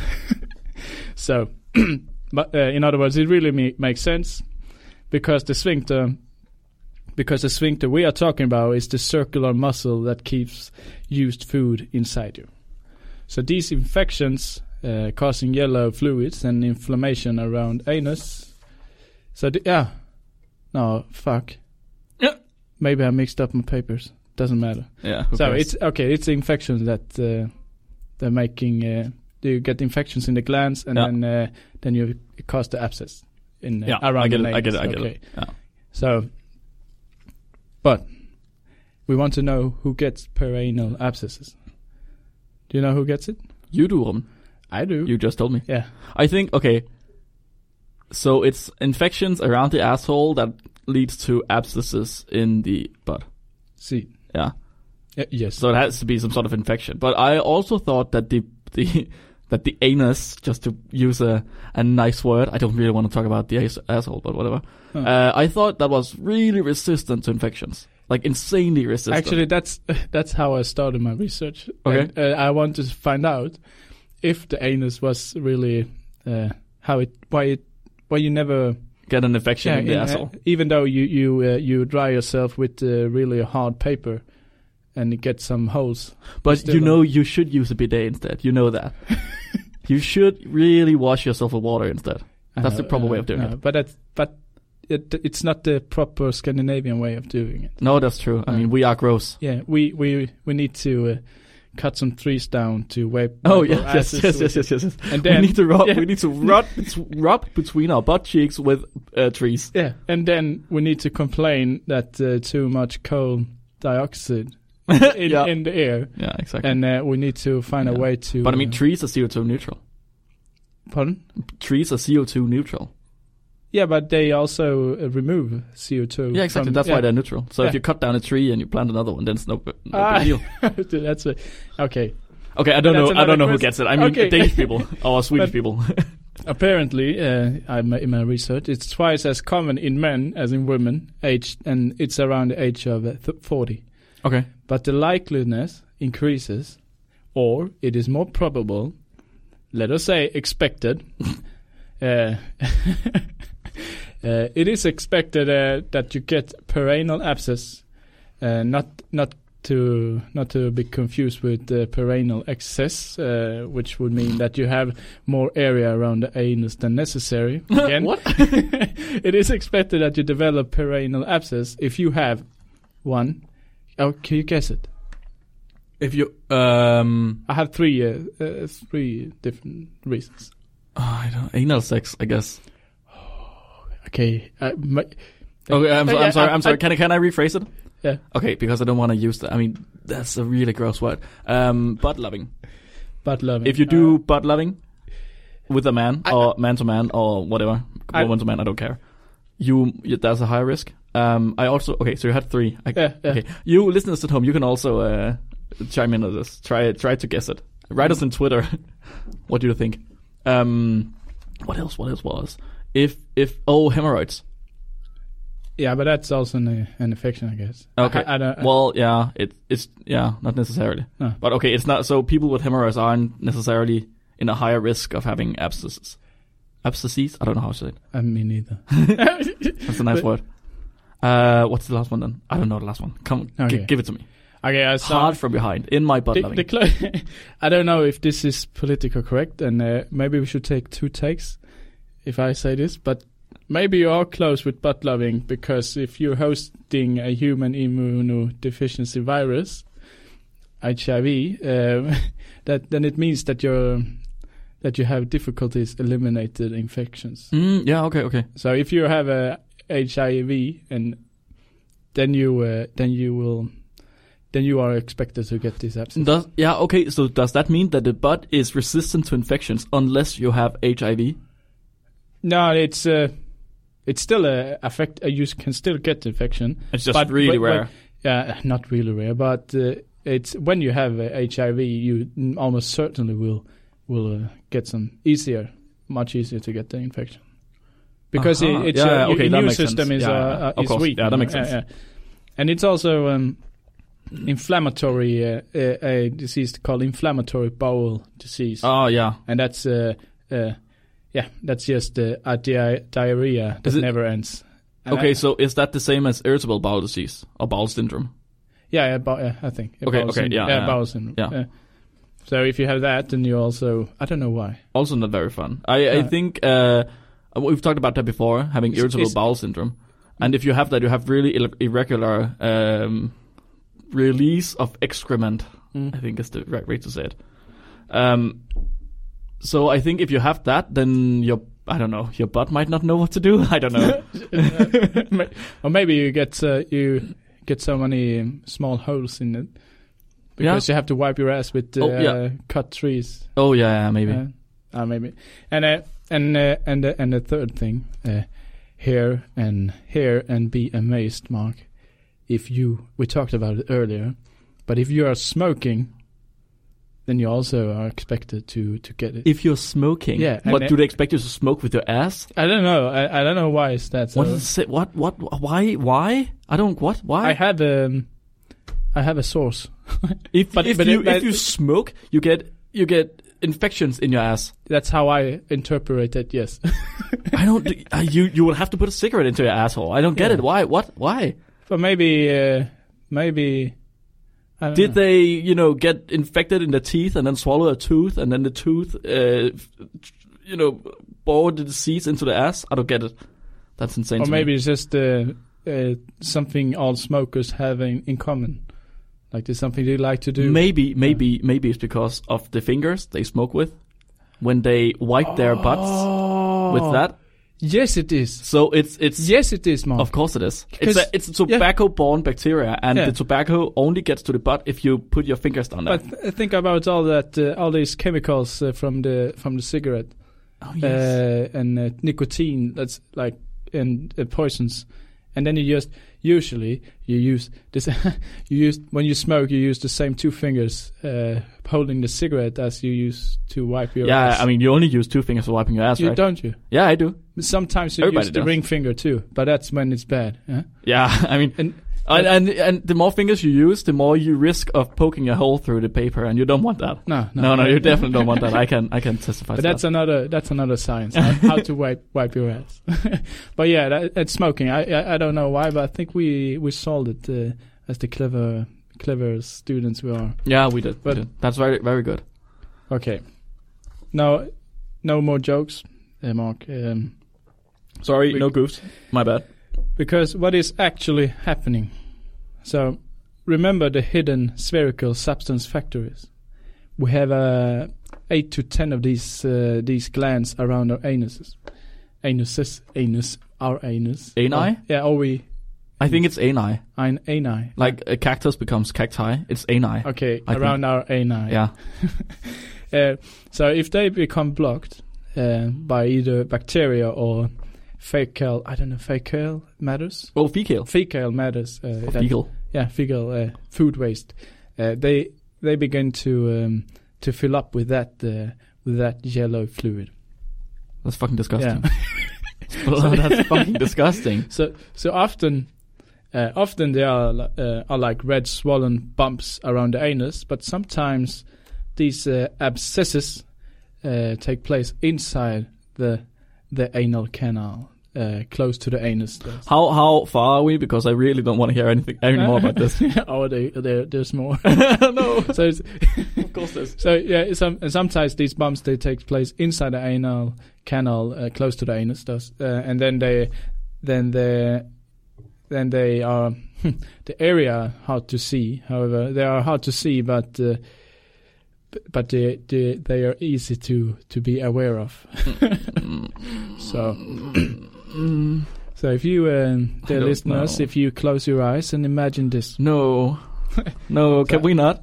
Speaker 1: so, <clears throat> but uh, in other words, it really ma- makes sense because the sphincter, because the sphincter we are talking about is the circular muscle that keeps used food inside you. So these infections uh, causing yellow fluids and inflammation around anus. So the, yeah, no fuck.
Speaker 2: Yeah.
Speaker 1: Maybe I mixed up my papers. Doesn't matter
Speaker 2: Yeah. who
Speaker 1: so
Speaker 2: cares?
Speaker 1: it's okay. It's infections that uh, they're making. Uh, you get infections in the glands, and
Speaker 2: Yeah.
Speaker 1: then uh, then you cause the abscess in uh,
Speaker 2: yeah.
Speaker 1: around
Speaker 2: I get
Speaker 1: the
Speaker 2: it. I get it. I
Speaker 1: anus.
Speaker 2: get
Speaker 1: okay.
Speaker 2: it. Yeah.
Speaker 1: So, but we want to know who gets perianal abscesses. Do you know who gets it?
Speaker 2: You do them.
Speaker 1: I do.
Speaker 2: You just told me.
Speaker 1: yeah,
Speaker 2: I think okay. So it's infections around the asshole that leads to abscesses in the butt.
Speaker 1: see,
Speaker 2: Yeah.
Speaker 1: Y- yes,
Speaker 2: So it has to be some sort of infection. But I also thought that the the <laughs> that the anus, just to use a a nice word, I don't really want to talk about the ass- asshole, but whatever.
Speaker 1: Huh.
Speaker 2: Uh, I thought that was really resistant to infections, like insanely resistant.
Speaker 1: Actually, that's <laughs> that's how I started my research.
Speaker 2: Okay.
Speaker 1: And, uh, I wanted to find out if the anus was really uh, how it why it why you never
Speaker 2: get an infection in the
Speaker 1: in-
Speaker 2: asshole.
Speaker 1: uh, even though you you uh, you dry yourself with uh, really hard paper and you get some holes.
Speaker 2: But
Speaker 1: still
Speaker 2: you
Speaker 1: don't-
Speaker 2: know, you should use a bidet instead. You know
Speaker 1: <laughs>
Speaker 2: that. you should really wash yourself with water instead.
Speaker 1: I
Speaker 2: That's the proper way of doing
Speaker 1: no, Uh, But that's but it, it's not the proper Scandinavian way of doing it.
Speaker 2: No, that's true. I
Speaker 1: Mm.
Speaker 2: mean, we are gross.
Speaker 1: Yeah, we we we need to. Uh, Cut some trees down to wipe. wipe
Speaker 2: Oh
Speaker 1: our
Speaker 2: yeah, <laughs> yes,
Speaker 1: asses
Speaker 2: yes,
Speaker 1: with.
Speaker 2: yes, yes, yes, yes.
Speaker 1: And then
Speaker 2: we need to rub.
Speaker 1: yeah.
Speaker 2: We need to rub. It's rub between our butt cheeks with uh, trees.
Speaker 1: Yeah, and then we need to complain that uh, too much coal
Speaker 2: <laughs>
Speaker 1: dioxide in,
Speaker 2: yeah.
Speaker 1: in the air,
Speaker 2: yeah, exactly.
Speaker 1: and uh, we need to find
Speaker 2: Yeah.
Speaker 1: a way to.
Speaker 2: but I mean,
Speaker 1: uh,
Speaker 2: trees are CO two neutral.
Speaker 1: pardon?
Speaker 2: Trees are CO two neutral.
Speaker 1: Yeah, but they also uh, remove CO two.
Speaker 2: Yeah, exactly. That's why they're neutral. So if
Speaker 1: Yeah.
Speaker 2: you cut down a tree and you plant another one, then it's no, b- no
Speaker 1: Ah.
Speaker 2: big <laughs> deal.
Speaker 1: <laughs> that's what, okay.
Speaker 2: Okay, I
Speaker 1: That's
Speaker 2: don't know. I
Speaker 1: another
Speaker 2: don't know who
Speaker 1: question.
Speaker 2: gets it. I mean,
Speaker 1: Okay.
Speaker 2: Danish <laughs> people or
Speaker 1: But-
Speaker 2: Swedish people.
Speaker 1: Apparently, uh, I ma- in my research, it's twice as common in men as in women, age, and it's around the age of uh, th- forty.
Speaker 2: okay.
Speaker 1: but the likeliness increases, or it is more probable let us say, expected. <laughs> uh, <laughs> uh, it is expected uh, that you get perianal abscess, uh, not not to not to be confused with uh, perianal excess, uh, which would mean that you have more area around the anus than necessary. Again,
Speaker 2: <laughs> what?
Speaker 1: <laughs> it is expected that you develop perianal abscess if you have one. Oh, can you guess it?
Speaker 2: If you um,
Speaker 1: I have three uh, uh, three different reasons.
Speaker 2: oh, I don't anal sex, I guess.
Speaker 1: Okay. Uh, my,
Speaker 2: Okay, I'm, so,
Speaker 1: Yeah,
Speaker 2: I'm sorry.
Speaker 1: I-
Speaker 2: I'm sorry.
Speaker 1: I-
Speaker 2: Can I can I rephrase it?
Speaker 1: Yeah.
Speaker 2: Okay, because I don't want to use that. I mean, that's a really gross word. Um, butt loving.
Speaker 1: Butt loving. Uh,
Speaker 2: If you do butt loving with a man
Speaker 1: I-
Speaker 2: or man to man or whatever,
Speaker 1: I-
Speaker 2: woman to man, I don't care. You, you that's a high risk. Um, I also okay. So you had three. I,
Speaker 1: Yeah, yeah.
Speaker 2: Okay, you listeners at home, you can also uh, chime in on this. Try try to guess it. Write us on Twitter. <laughs> what do you think? Um, what else? What else was? If if oh hemorrhoids.
Speaker 1: yeah, but that's also an, an infection, I guess.
Speaker 2: Okay.
Speaker 1: I, I don't.
Speaker 2: well, yeah, it, it's yeah, not necessarily.
Speaker 1: No.
Speaker 2: But okay, it's not. So people with hemorrhoids aren't necessarily in a higher risk of having abscesses. Abscesses? I don't know how to say it.
Speaker 1: I mean,
Speaker 2: <laughs>
Speaker 1: either.
Speaker 2: That's a nice word. Uh, what's the last one then? I don't know the last one. Come, g-
Speaker 1: Okay.
Speaker 2: give it to me.
Speaker 1: <laughs> Okay, uh, I
Speaker 2: Hard from behind, in my butt
Speaker 1: The,
Speaker 2: loving.
Speaker 1: the clo- <laughs> I don't know if this is political correct, and uh, maybe we should take two takes if I say this, but maybe you are close with butt loving because if you're hosting a human immunodeficiency virus, HIV, um, <laughs> that then it means that you're that you have difficulties eliminated infections.
Speaker 2: mm, yeah. Okay. Okay.
Speaker 1: So if you have a HIV and then you uh, then you will then you are expected to get this abscess.
Speaker 2: Does yeah. Okay. So does that mean that the butt is resistant to infections unless you have HIV?
Speaker 1: No, it's uh, it's still a affect. Uh, you can still get infection.
Speaker 2: It's just
Speaker 1: But-
Speaker 2: really
Speaker 1: but-
Speaker 2: rare.
Speaker 1: Yeah, not really rare, but uh, it's when you have uh, HIV, you n- almost certainly will will uh, get some easier, much easier to get the infection because
Speaker 2: Aha.
Speaker 1: it, it's
Speaker 2: Uh-huh. Yeah,
Speaker 1: uh,
Speaker 2: yeah,
Speaker 1: your
Speaker 2: okay, that
Speaker 1: immune
Speaker 2: makes
Speaker 1: system is
Speaker 2: sense. Yeah, yeah,
Speaker 1: uh,
Speaker 2: of
Speaker 1: uh, is
Speaker 2: course.
Speaker 1: weak.
Speaker 2: Yeah, that makes sense.
Speaker 1: And it's also um, inflammatory uh, uh, a disease called inflammatory bowel disease
Speaker 2: oh yeah.
Speaker 1: and that's uh, uh, yeah, that's just uh, a di- diarrhea that
Speaker 2: Is it-
Speaker 1: never ends. And
Speaker 2: Okay.
Speaker 1: I-
Speaker 2: so is that the same as irritable bowel disease or bowel syndrome?
Speaker 1: yeah, yeah, bo- yeah, I think. Yeah,
Speaker 2: Okay,
Speaker 1: bowel
Speaker 2: okay,
Speaker 1: syndrome.
Speaker 2: yeah, yeah.
Speaker 1: bowel syndrome.
Speaker 2: Yeah.
Speaker 1: so if you have that, then you also I don't know why.
Speaker 2: also not very fun. I, I
Speaker 1: No.
Speaker 2: think uh, we've talked about that before, having
Speaker 1: It's-
Speaker 2: irritable
Speaker 1: it's-
Speaker 2: bowel syndrome, and if you have that, you have really Ill- irregular um, release of excrement. I
Speaker 1: <laughs>
Speaker 2: think is the right way to say it. Um, so I think if you have that, then your I don't know your butt might not know what to do. <laughs> I don't
Speaker 1: <laughs>
Speaker 2: know.
Speaker 1: or maybe you get uh, you get so many um, small holes in it because you have to wipe your ass with uh,
Speaker 2: Oh, yeah.
Speaker 1: cut trees.
Speaker 2: oh yeah, yeah, maybe.
Speaker 1: Uh, ah, maybe. And uh, and uh, and uh, and the third thing, uh, hear and hear and be amazed, Mark. If you we talked about it earlier, but if you are smoking, then you also are expected to to get it.
Speaker 2: If you're smoking,
Speaker 1: Yeah, and
Speaker 2: what
Speaker 1: it-
Speaker 2: do they expect you to smoke with your ass?
Speaker 1: I don't know. I, I don't know why is that. So
Speaker 2: What is it? What? What? Why? Why? I don't. What? Why?
Speaker 1: I have um, I have a source.
Speaker 2: If
Speaker 1: But-
Speaker 2: if
Speaker 1: but
Speaker 2: you
Speaker 1: it- but-
Speaker 2: if you smoke, you get you get infections in your ass.
Speaker 1: That's how I interpret it. Yes.
Speaker 2: <laughs>
Speaker 1: <laughs>
Speaker 2: I don't. uh, you you will have to put a cigarette into your asshole. I don't get
Speaker 1: Yeah.
Speaker 2: it. Why? What? Why?
Speaker 1: but maybe uh, maybe. I don't
Speaker 2: Did
Speaker 1: know.
Speaker 2: they you know get infected in the teeth and then swallow a tooth and then the tooth uh, f- you know bore the disease into the ass? I don't get it. That's insane.
Speaker 1: or
Speaker 2: to me.
Speaker 1: maybe it's just uh, uh, something all smokers have in, in common. Like there's something they like to do.
Speaker 2: maybe maybe maybe it's because of the fingers they smoke with when they wipe their butts
Speaker 1: Oh.
Speaker 2: with that.
Speaker 1: Yes, it is.
Speaker 2: So it's it's
Speaker 1: Yes, it is, Mark.
Speaker 2: Of course it is. It's
Speaker 1: Because-
Speaker 2: a, it's a tobacco-borne bacteria, and
Speaker 1: Yeah.
Speaker 2: the tobacco only gets to the butt if you put your fingers down there.
Speaker 1: but th- think about all that, uh, all these chemicals uh, from the from the cigarette
Speaker 2: oh,
Speaker 1: uh, and uh, nicotine. That's like and uh, poisons. And then you just usually you use this. <laughs> you use when you smoke, you use the same two fingers uh, holding the cigarette as you use to wipe your.
Speaker 2: yeah,
Speaker 1: ass.
Speaker 2: I mean, you only use two fingers for wiping your ass,
Speaker 1: you
Speaker 2: right?
Speaker 1: don't you?
Speaker 2: Yeah, I do.
Speaker 1: Sometimes you
Speaker 2: Everybody
Speaker 1: use the
Speaker 2: does.
Speaker 1: ring finger too, but that's when it's bad. Huh?
Speaker 2: Yeah, <laughs> I mean,
Speaker 1: And
Speaker 2: And, and and the more fingers you use, the more you risk of poking a hole through the paper, and you don't want that.
Speaker 1: No, no,
Speaker 2: No, no, you definitely don't
Speaker 1: <laughs>
Speaker 2: want that. I can I can testify.
Speaker 1: But
Speaker 2: to
Speaker 1: that's
Speaker 2: that.
Speaker 1: another that's another science how, how
Speaker 2: <laughs>
Speaker 1: to wipe wipe your ass. <laughs> but yeah, that, it's smoking. I, I I don't know why, but I think we we solved it uh, as the clever clever students we are.
Speaker 2: yeah, we did.
Speaker 1: But-
Speaker 2: we did. That's very very good.
Speaker 1: Okay. Now, no more jokes, uh, Mark. Um,
Speaker 2: Sorry,
Speaker 1: no
Speaker 2: goofs. My bad.
Speaker 1: because what is actually happening? So, remember the hidden spherical substance factories. We have uh, eight to ten of these uh, these glands around our anuses, anuses, anus, our anus.
Speaker 2: Ani?
Speaker 1: Oh, yeah, or we
Speaker 2: I think
Speaker 1: Mm.
Speaker 2: it's ani.
Speaker 1: an ani.
Speaker 2: Like a cactus becomes cacti. It's ani.
Speaker 1: Okay,
Speaker 2: I
Speaker 1: around our ani.
Speaker 2: Yeah.
Speaker 1: Uh, so if they become blocked uh, by either bacteria or fecal, I don't know, fecal matters.
Speaker 2: Well, fecal.
Speaker 1: Fecal matters. Uh, that-
Speaker 2: Fecal.
Speaker 1: yeah, fecal uh, food waste. Uh, they they begin to um, to fill up with that uh, with that yellow fluid.
Speaker 2: That's fucking disgusting. Well, <laughs>
Speaker 1: <laughs>
Speaker 2: that's fucking disgusting.
Speaker 1: So so often. Uh, often there are li- uh, are like red swollen bumps around the anus, but sometimes these uh, abscesses uh, take place inside the the anal canal, uh, close to the anus.
Speaker 2: How how far are we? Because I really don't want to hear anything anymore
Speaker 1: <laughs>
Speaker 2: about this.
Speaker 1: oh, there, there, there's more. <laughs>
Speaker 2: <laughs> no,
Speaker 1: so it's,
Speaker 2: of course there's.
Speaker 1: So yeah, some, and sometimes these bumps they take place inside the anal canal, uh, close to the anus, does, uh, and then they, then they, then they are <laughs> the area hard to see. However, they are hard to see, but uh, b- but they, they they are easy to to be aware of. <laughs> so so if you, um,
Speaker 2: I
Speaker 1: dear
Speaker 2: don't
Speaker 1: listeners,
Speaker 2: know.
Speaker 1: if you close your eyes and imagine this
Speaker 2: No,
Speaker 1: <laughs>
Speaker 2: no, can we not?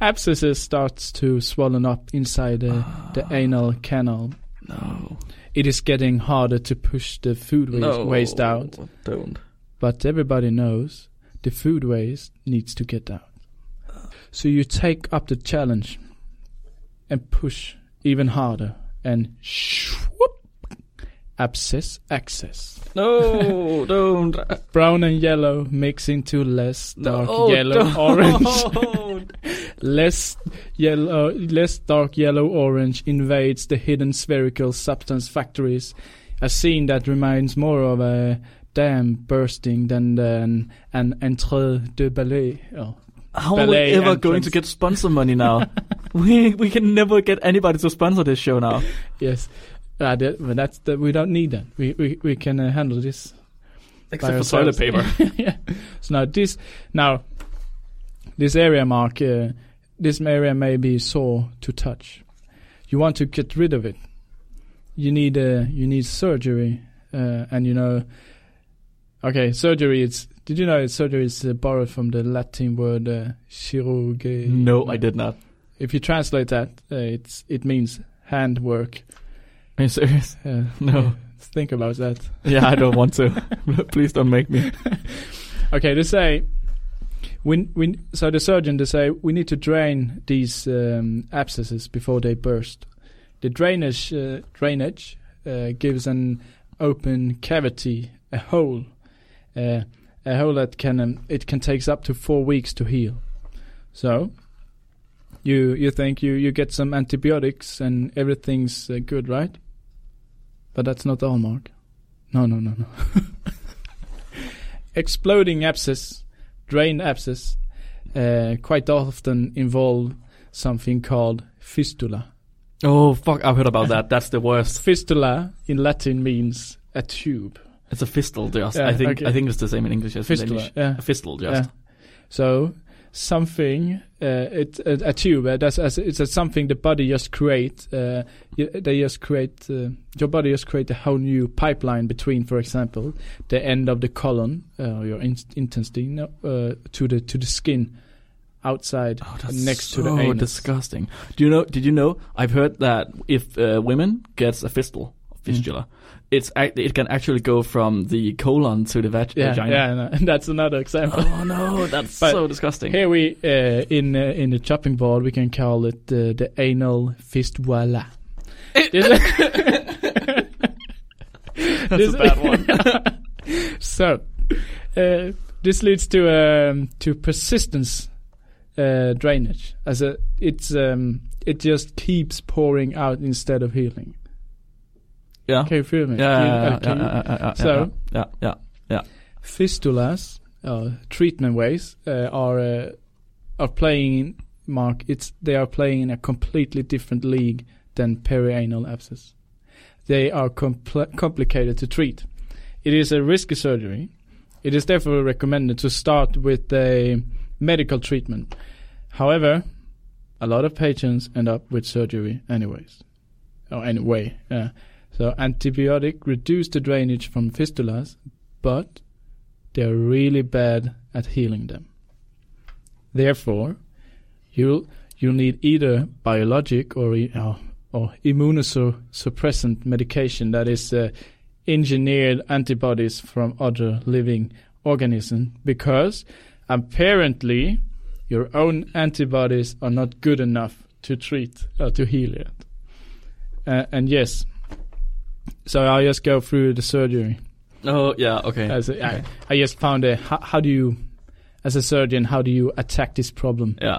Speaker 1: abscesses starts to swollen up inside the,
Speaker 2: Ah.
Speaker 1: the anal canal.
Speaker 2: No,
Speaker 1: It is getting harder to push the food waste,
Speaker 2: no,
Speaker 1: waste out,
Speaker 2: Don't.
Speaker 1: but everybody knows the food waste needs to get out. So you take up the challenge and push even harder and whoop, abscess
Speaker 2: <laughs>
Speaker 1: access.
Speaker 2: No, don't.
Speaker 1: Brown and yellow mix into less <laughs> dark
Speaker 2: no,
Speaker 1: yellow <laughs>
Speaker 2: don't. <laughs>
Speaker 1: orange. Less yellow, uh, less dark yellow orange invades the hidden spherical substance factories. A scene that reminds more of a dam bursting than an an entre de ballet. Oh,
Speaker 2: How are we
Speaker 1: Ballet
Speaker 2: ever
Speaker 1: entrance.
Speaker 2: going to get sponsor
Speaker 1: <laughs>
Speaker 2: money now? <laughs> we we can never get anybody to sponsor this show now.
Speaker 1: yes, uh, that, but that's the, we don't need that. We we we can uh, handle this.
Speaker 2: Except
Speaker 1: by
Speaker 2: for toilet paper.
Speaker 1: ourselves. yeah. So now this now this area mark uh, this area may be sore to touch. You want to get rid of it. You need uh, you need surgery, uh, and you know. Okay, surgery. It's did you know surgery is uh, borrowed from the Latin word uh, chirurgia?
Speaker 2: <laughs> No, I did not.
Speaker 1: If you translate that, uh, it's it means handwork.
Speaker 2: Are you serious?
Speaker 1: Uh,
Speaker 2: No.
Speaker 1: <laughs> think about that. <laughs>
Speaker 2: Yeah, I don't want to. Please don't make me.
Speaker 1: Okay, they say we, we, so the surgeon they say we need to drain these um, abscesses before they burst. The drainage uh, drainage uh, gives an open cavity, a hole, uh, a hole that can um, it can takes up to four weeks to heal. So you you think you you get some antibiotics and everything's uh, good, right? But that's not all, Mark. No, no, no, no exploding abscess, drained abscess, uh, quite often involve something called fistula.
Speaker 2: Oh fuck! I've heard about that. That's the worst.
Speaker 1: Fistula in Latin means a tube.
Speaker 2: It's a fistel just.
Speaker 1: Yeah,
Speaker 2: I think
Speaker 1: okay.
Speaker 2: I think it's the same in English as in
Speaker 1: Fistula.
Speaker 2: Danish.
Speaker 1: Yeah.
Speaker 2: A fistel just.
Speaker 1: Yeah. So something uh, it a, a tube uh, that's as it's a something the body just create uh, y- they just create uh, your body just create a whole new pipeline between for example the end of the colon uh, or your in- intestine uh, to the to the skin outside
Speaker 2: Oh, that's
Speaker 1: next to the
Speaker 2: so
Speaker 1: anus.
Speaker 2: disgusting. Do you know? Did you know? I've heard that if uh, women gets a fistel,
Speaker 1: Mm.
Speaker 2: fistula, it's act- it can actually go from the colon to the vag-
Speaker 1: yeah,
Speaker 2: vagina.
Speaker 1: yeah, no, <laughs> and that's another example.
Speaker 2: <laughs> Oh no, that's
Speaker 1: But-
Speaker 2: so disgusting.
Speaker 1: Here we uh, in uh, in the chopping board we can call it uh, the anal fist
Speaker 2: <laughs>
Speaker 1: voila. <laughs> This- <laughs>
Speaker 2: that's a bad one.
Speaker 1: so, uh, This leads to um, to persistence uh, drainage. As a, it's um, it just keeps pouring out instead of healing.
Speaker 2: Yeah.
Speaker 1: Can you feel me?
Speaker 2: Oh. Yeah,
Speaker 1: You-
Speaker 2: yeah,
Speaker 1: okay.
Speaker 2: yeah, yeah, yeah, yeah,
Speaker 1: uh, So-
Speaker 2: yeah, yeah,
Speaker 1: Fistulas, uh, treatment ways, uh, are uh, are playing. Mark, it's they are playing in a completely different league than perianal abscess. They are compl- complicated to treat. It is a risky surgery. It is therefore recommended to start with a medical treatment. However, a lot of patients end up with surgery anyways. Or anyway, yeah. So antibiotic reduce the drainage from fistulas, but they're really bad at healing them. Therefore, you'll you'll need either biologic or i- or, or immunosuppressant medication that is uh, engineered antibodies from other living organisms because apparently your own antibodies are not good enough to treat or to heal it. Uh, and yes, so I'll just go through the surgery.
Speaker 2: yeah. Oh, yeah, okay.
Speaker 1: As a, I, I just found a how, how do you, as a surgeon, how do you attack this problem?
Speaker 2: yeah.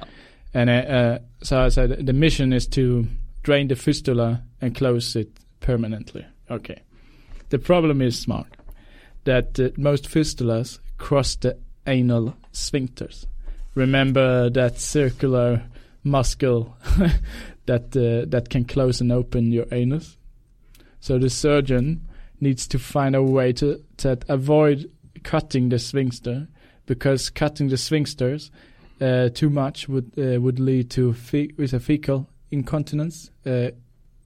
Speaker 1: And uh, uh, so I said the mission is to drain the fistula and close it permanently. Okay. The problem is Mark, that uh, most fistulas cross the anal sphincters. Remember that circular muscle <laughs> that uh, that can close and open your anus. So the surgeon needs to find a way to that avoid cutting the sphincter because cutting the sphincters uh, too much would uh, would lead to fe- with a fecal incontinence. Uh,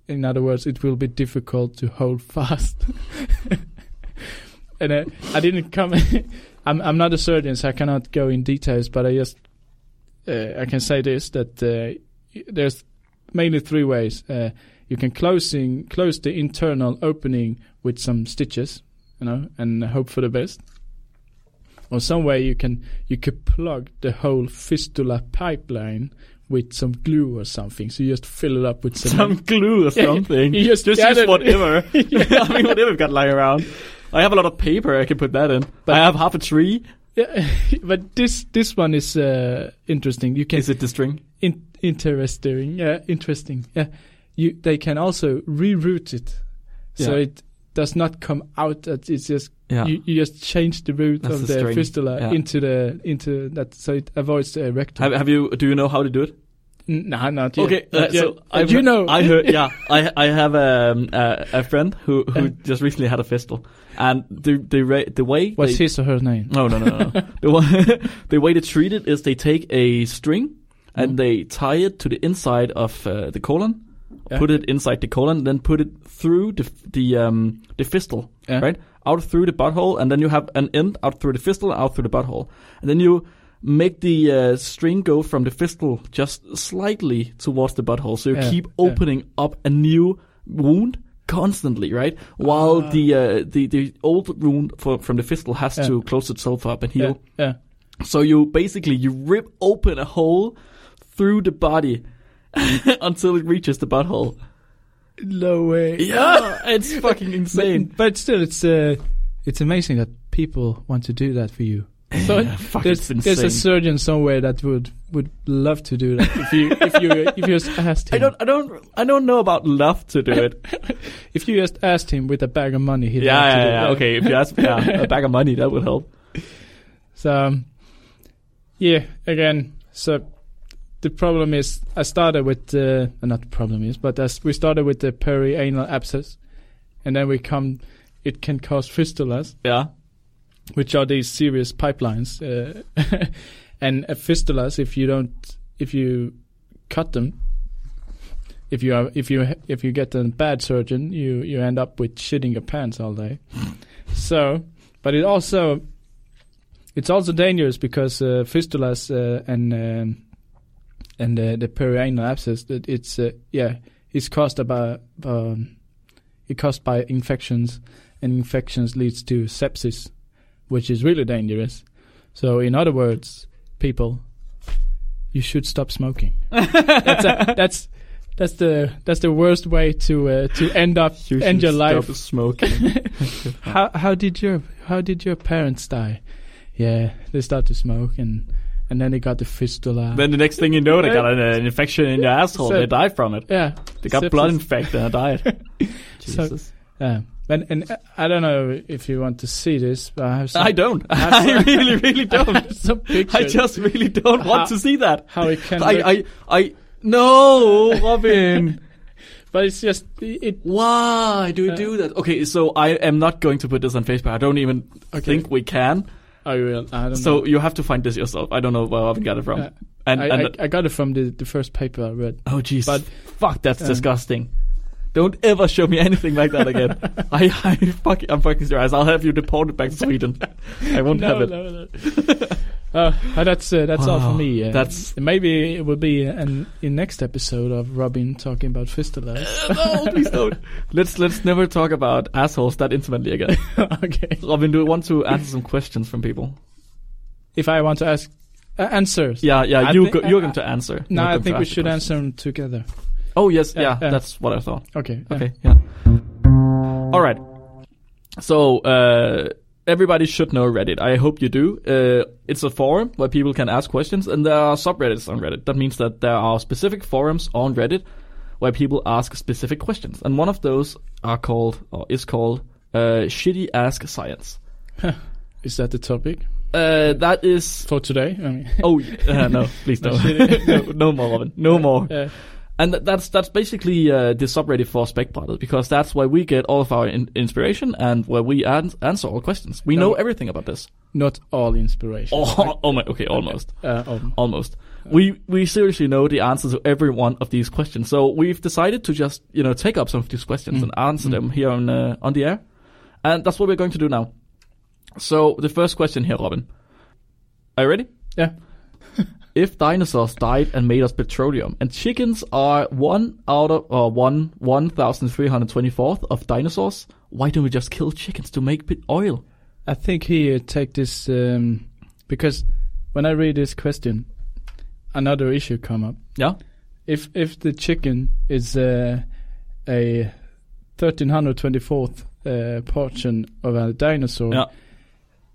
Speaker 1: in other words, it will be difficult to hold <laughs> fast. and uh, I didn't come. <laughs> I'm I'm not a surgeon, so I cannot go in details. But I just uh, I can say this that uh, y- there's mainly three ways. Uh, you can closing close the internal opening with some stitches, you know, and hope for the best. Or some way you can you could plug the whole fistula pipeline with some glue or something. So you just fill it up with
Speaker 2: Some
Speaker 1: cement.
Speaker 2: glue or
Speaker 1: <laughs> Yeah,
Speaker 2: something.
Speaker 1: you just
Speaker 2: just
Speaker 1: gathered-
Speaker 2: use whatever. <laughs> I mean, whatever I've got lying around. I have a lot of paper. I can put that in.
Speaker 1: But-
Speaker 2: I have half a tree.
Speaker 1: Yeah, but this this one is uh, interesting. You can
Speaker 2: Is it the string?
Speaker 1: in, interesting. Yeah, interesting. Yeah, you they can also reroute it, so
Speaker 2: Yeah.
Speaker 1: it does not come out. That it's just
Speaker 2: Yeah.
Speaker 1: you, you just change the route
Speaker 2: That's
Speaker 1: of
Speaker 2: the
Speaker 1: the,
Speaker 2: string.
Speaker 1: fistula
Speaker 2: Yeah.
Speaker 1: into the into that, so it avoids the rectum.
Speaker 2: have, have you? Do you know how to do it?
Speaker 1: N- nah, not yet.
Speaker 2: Okay, uh,
Speaker 1: Not yet.
Speaker 2: so
Speaker 1: But
Speaker 2: I've,
Speaker 1: you know,
Speaker 2: I
Speaker 1: <laughs>
Speaker 2: heard, yeah, I I have um, a a friend who who just recently had a fistful, and the the ra- the way
Speaker 1: what's
Speaker 2: they,
Speaker 1: his or her name?
Speaker 2: no no no no, no. the way, <laughs> the way to treat it is they take a string and
Speaker 1: Mhm.
Speaker 2: they tie it to the inside of uh, the colon,
Speaker 1: Yeah.
Speaker 2: put it inside the colon, then put it through the f- the um the fistal,
Speaker 1: Yeah.
Speaker 2: right out through the butthole, and then you have an end out through the fistal, out through the butthole, and then you make the uh, string go from the fistal just slightly towards the butthole, so you
Speaker 1: Yeah,
Speaker 2: keep
Speaker 1: yeah.
Speaker 2: opening up a new wound constantly, right? While
Speaker 1: Ah.
Speaker 2: the uh, the the old wound for, from the fistal has
Speaker 1: Yeah.
Speaker 2: to close itself up and
Speaker 1: Yeah,
Speaker 2: heal.
Speaker 1: yeah.
Speaker 2: So you basically you rip open a hole through the body <laughs> until it reaches the butthole.
Speaker 1: No way.
Speaker 2: Yeah, Ah, it's <laughs> fucking insane.
Speaker 1: But, but still, it's uh, it's amazing that people want to do that for you. So
Speaker 2: Yeah,
Speaker 1: <laughs>
Speaker 2: fuck,
Speaker 1: there's,
Speaker 2: it's
Speaker 1: there's a
Speaker 2: insane.
Speaker 1: surgeon somewhere that would would love to do that if you if you if you
Speaker 2: <laughs>
Speaker 1: just asked him.
Speaker 2: I don't, I don't, I don't know about love to do it.
Speaker 1: if you just asked him with a bag of money, he'd
Speaker 2: <laughs> yeah,
Speaker 1: love to
Speaker 2: yeah,
Speaker 1: do
Speaker 2: yeah,
Speaker 1: that.
Speaker 2: okay. If you ask, yeah, a bag of money that would help.
Speaker 1: So um, yeah, again, so the problem is I started with uh, not the problem is, but as we started with the perianal abscess, and then we come, it can cause fistulas.
Speaker 2: Yeah,
Speaker 1: which are these serious pipelines. Uh, <laughs> and uh, fistulas, if you don't, if you cut them, if you are, if you if you get a bad surgeon, you you end up with shitting your pants all day. so, but it also it's also dangerous because uh, fistulas uh, and um, and uh, the perianal abscess that it's uh, yeah it's caused by um, it caused by infections and infections leads to sepsis which is really dangerous. So, in other words, people, you should stop smoking. that's, a, that's that's the that's the worst way to uh,
Speaker 2: <laughs>
Speaker 1: to end up
Speaker 2: You
Speaker 1: end
Speaker 2: should
Speaker 1: your life.
Speaker 2: <laughs> Stop smoking.
Speaker 1: How how did your how did your parents die? yeah, they start to smoke, and and then they got the fistula.
Speaker 2: Then the next thing you know, they got an, an infection in their asshole.
Speaker 1: So-
Speaker 2: they died from it.
Speaker 1: yeah,
Speaker 2: They got
Speaker 1: sepsis.
Speaker 2: blood infection and <laughs> died.
Speaker 1: So-
Speaker 2: Jesus.
Speaker 1: Yeah. And, and uh, I don't know if you want to see this, but I have some,
Speaker 2: I don't. <laughs> I
Speaker 1: That's-
Speaker 2: really, really
Speaker 1: <laughs>
Speaker 2: <laughs> don't.
Speaker 1: some pictures.
Speaker 2: I just really don't want to see that.
Speaker 1: how it can look.
Speaker 2: I, I, I, no, <laughs> Robin.
Speaker 1: but it's just it.
Speaker 2: Why do you
Speaker 1: Uh,
Speaker 2: do that? Okay, so I am not going to put this on Facebook. I don't even
Speaker 1: Okay.
Speaker 2: think we can.
Speaker 1: I will. I don't know.
Speaker 2: So you have to find this yourself. I don't know where Robin got it from.
Speaker 1: Uh,
Speaker 2: and
Speaker 1: I,
Speaker 2: and
Speaker 1: I, I got it from the, the first paper I read.
Speaker 2: oh, jeez.
Speaker 1: but-
Speaker 2: Fuck, that's
Speaker 1: um,
Speaker 2: disgusting. Don't ever show me anything like that
Speaker 1: <laughs>
Speaker 2: again. I, I fuck, I'm fucking serious. I'll have you deported back to Sweden. I won't have it.
Speaker 1: <laughs> no, no. <laughs> uh, uh, that's uh, that's all
Speaker 2: Wow,
Speaker 1: for me. Uh,
Speaker 2: that's- <laughs>
Speaker 1: maybe it will be an, in next episode of Robin talking about fistula.
Speaker 2: no, please don't. Let's let's never talk about assholes that intimately again.
Speaker 1: <laughs>
Speaker 2: <laughs>
Speaker 1: okay.
Speaker 2: Robin, do you want to answer some questions from people?
Speaker 1: If I want to ask uh, answers.
Speaker 2: Yeah, yeah,
Speaker 1: I
Speaker 2: you
Speaker 1: thi-
Speaker 2: go, you're
Speaker 1: I-
Speaker 2: going to answer.
Speaker 1: No,
Speaker 2: You're
Speaker 1: I
Speaker 2: going
Speaker 1: think
Speaker 2: to
Speaker 1: we
Speaker 2: ask the
Speaker 1: should
Speaker 2: question.
Speaker 1: answer them together.
Speaker 2: Oh yes, yeah,
Speaker 1: Yeah, yeah.
Speaker 2: that's what I thought.
Speaker 1: Okay. yeah.
Speaker 2: Okay, yeah. All right. So uh, everybody should know Reddit. I hope you do. Uh, it's a forum where people can ask questions, and there are subreddits on Reddit. That means that there are specific forums on Reddit where people ask specific questions, and one of those are called or is called uh, "Shitty Ask Science."
Speaker 1: Is that the topic
Speaker 2: Uh, that is.
Speaker 1: for today? I mean, <laughs>
Speaker 2: Oh <laughs> uh, no! Please don't. <laughs> no, no more, Robin. No more.
Speaker 1: uh,
Speaker 2: And th- that's that's basically uh, the subreddit for Spec Brothers because that's where we get all of our in- inspiration and where we an- answer all questions. We know
Speaker 1: No.
Speaker 2: everything about <laughs> this.
Speaker 1: not all <laughs> inspiration.
Speaker 2: Oh, oh my, okay, almost,
Speaker 1: Uh, um,
Speaker 2: almost. We we seriously know the answers to every one of these questions. So we've decided to just you know take up some of these questions and answer them here on uh, on the air, and that's what we're going to do now. So the first question here, Robin, are you ready?
Speaker 1: yeah.
Speaker 2: if dinosaurs died and made us petroleum, and chickens are one out of or one one thousand three hundred twenty fourth of dinosaurs, why don't we just kill chickens to make pit oil?
Speaker 1: I think here take this um, because when I read this question, another issue come up.
Speaker 2: Yeah,
Speaker 1: If if the chicken is uh, a thirteen hundred twenty fourth uh, portion of a dinosaur,
Speaker 2: Yeah.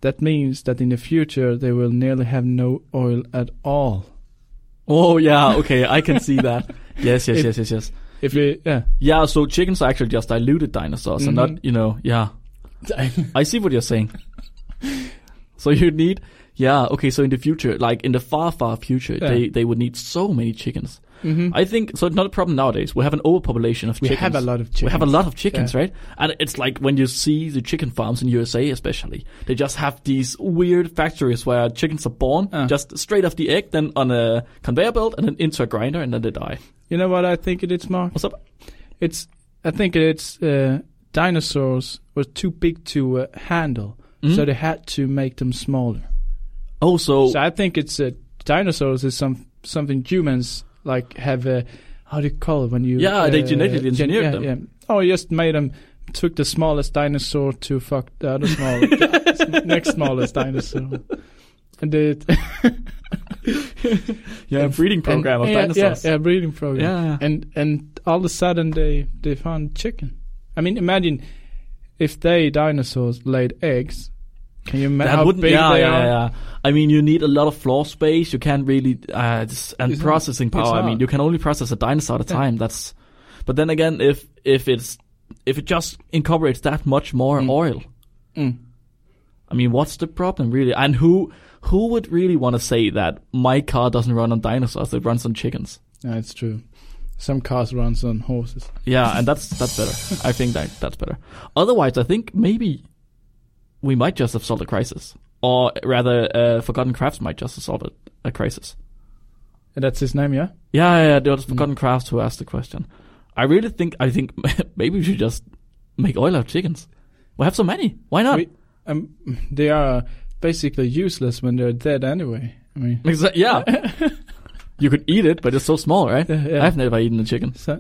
Speaker 1: that means that in the future they will nearly have no oil at all.
Speaker 2: Oh yeah, <laughs> okay, I can see that. Yes, yes,
Speaker 1: It-
Speaker 2: yes, yes, yes.
Speaker 1: If we
Speaker 2: <laughs>
Speaker 1: yeah,
Speaker 2: Yeah, so chickens are actually just diluted dinosaurs, and
Speaker 1: Mhm.
Speaker 2: not you know. Yeah,
Speaker 1: Mm-hmm.
Speaker 2: I see what you're saying. <laughs> so you need, yeah, okay. So in the future, like in the far, far future,
Speaker 1: Yeah.
Speaker 2: they they would need so many chickens.
Speaker 1: Mhm.
Speaker 2: I think so. It's not a problem nowadays. We have an overpopulation of
Speaker 1: we
Speaker 2: chickens.
Speaker 1: have a lot of chickens.
Speaker 2: We have a lot of chickens,
Speaker 1: Yeah.
Speaker 2: right? And it's like when you see the chicken farms in USA, especially, they just have these weird factories where chickens are born
Speaker 1: Uh.
Speaker 2: just straight off the egg, then on a conveyor belt, and then into a grinder, and then they die.
Speaker 1: You know what I think it is, Mark?
Speaker 2: What's up?
Speaker 1: It's I think it's uh, dinosaurs were too big to uh, handle,
Speaker 2: Mm-hmm.
Speaker 1: so they had to make them smaller.
Speaker 2: Oh, so,
Speaker 1: So I think it's uh, dinosaurs is some something humans like have. Uh, how do you call it when you?
Speaker 2: Yeah, they
Speaker 1: uh,
Speaker 2: genetically engineered
Speaker 1: yeah,
Speaker 2: them.
Speaker 1: Yeah. Oh, you just made them. Took the smallest dinosaur to fuck the other small, the <laughs> next smallest dinosaur, and did
Speaker 2: yeah, breeding <laughs> program
Speaker 1: and,
Speaker 2: of
Speaker 1: yeah,
Speaker 2: dinosaurs.
Speaker 1: Yeah, yeah, breeding program.
Speaker 2: Yeah, yeah.
Speaker 1: And and all of a sudden they they found chicken. I mean, imagine if they dinosaurs laid eggs. Can you imagine
Speaker 2: That
Speaker 1: how
Speaker 2: wouldn't,
Speaker 1: big
Speaker 2: yeah,
Speaker 1: they
Speaker 2: yeah,
Speaker 1: are?
Speaker 2: yeah. I mean, you need a lot of floor space. You can't really, uh, it's- and
Speaker 1: It's not-
Speaker 2: processing
Speaker 1: it's
Speaker 2: power. I mean,
Speaker 1: not.
Speaker 2: you can only process a dinosaur at a
Speaker 1: Yeah.
Speaker 2: time. That's, but then again, if if it's if it just incorporates that much more
Speaker 1: Mm.
Speaker 2: oil,
Speaker 1: Mm.
Speaker 2: I mean, what's the problem really? And who who would really want to say that my car doesn't run on dinosaurs? It runs on chickens.
Speaker 1: Yeah, it's true. Some cars runs on horses.
Speaker 2: Yeah, and that's that's better. I think that that's better. Otherwise, I think maybe we might just have solved a crisis, or rather, uh, Forgotten Crafts might just have solved a, a crisis.
Speaker 1: And that's his name, yeah.
Speaker 2: Yeah, yeah, yeah, it
Speaker 1: Mm.
Speaker 2: was Forgotten Crafts who asked the question. I really think I think <laughs> maybe we should just make oil out of chickens. We have so many. Why not?
Speaker 1: We- Um, they are basically useless when they're dead anyway. I mean,
Speaker 2: Exa- yeah. <laughs> you could eat it, but it's so small, right?
Speaker 1: Yeah, yeah.
Speaker 2: I've never eaten a chicken.
Speaker 1: so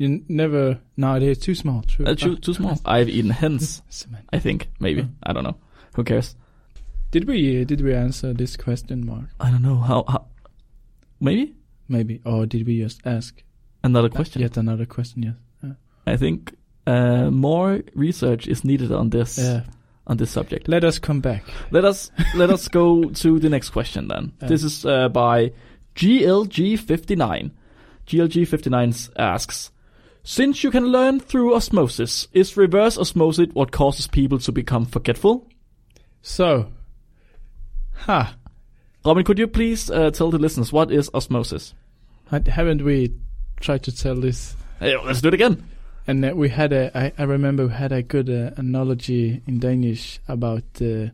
Speaker 1: you n- never. No, they're too small. True.
Speaker 2: That's too,
Speaker 1: Ah,
Speaker 2: too small. I've eaten hens.
Speaker 1: cement.
Speaker 2: I think maybe.
Speaker 1: Mm.
Speaker 2: I don't know. Who cares?
Speaker 1: Did we uh, did we answer this question, Mark?
Speaker 2: I don't know how. how maybe
Speaker 1: Maybe, or did we just ask
Speaker 2: another question.
Speaker 1: yet another question? Yes.
Speaker 2: I think uh, more research is needed on this.
Speaker 1: Yeah.
Speaker 2: on this subject.
Speaker 1: Let us come back.
Speaker 2: Let us let us go to the next question then.
Speaker 1: Yeah.
Speaker 2: This is uh, by GLG59. GLG59 asks, since you can learn through osmosis, is reverse osmosis what causes people to become forgetful?
Speaker 1: So, ha,
Speaker 2: Robin, could you please uh, tell the listeners what is osmosis?
Speaker 1: had- haven't we tried to tell this?
Speaker 2: Hey, let's do it again.
Speaker 1: And uh, we had a, I, I remember we had a good uh, analogy in Danish about uh,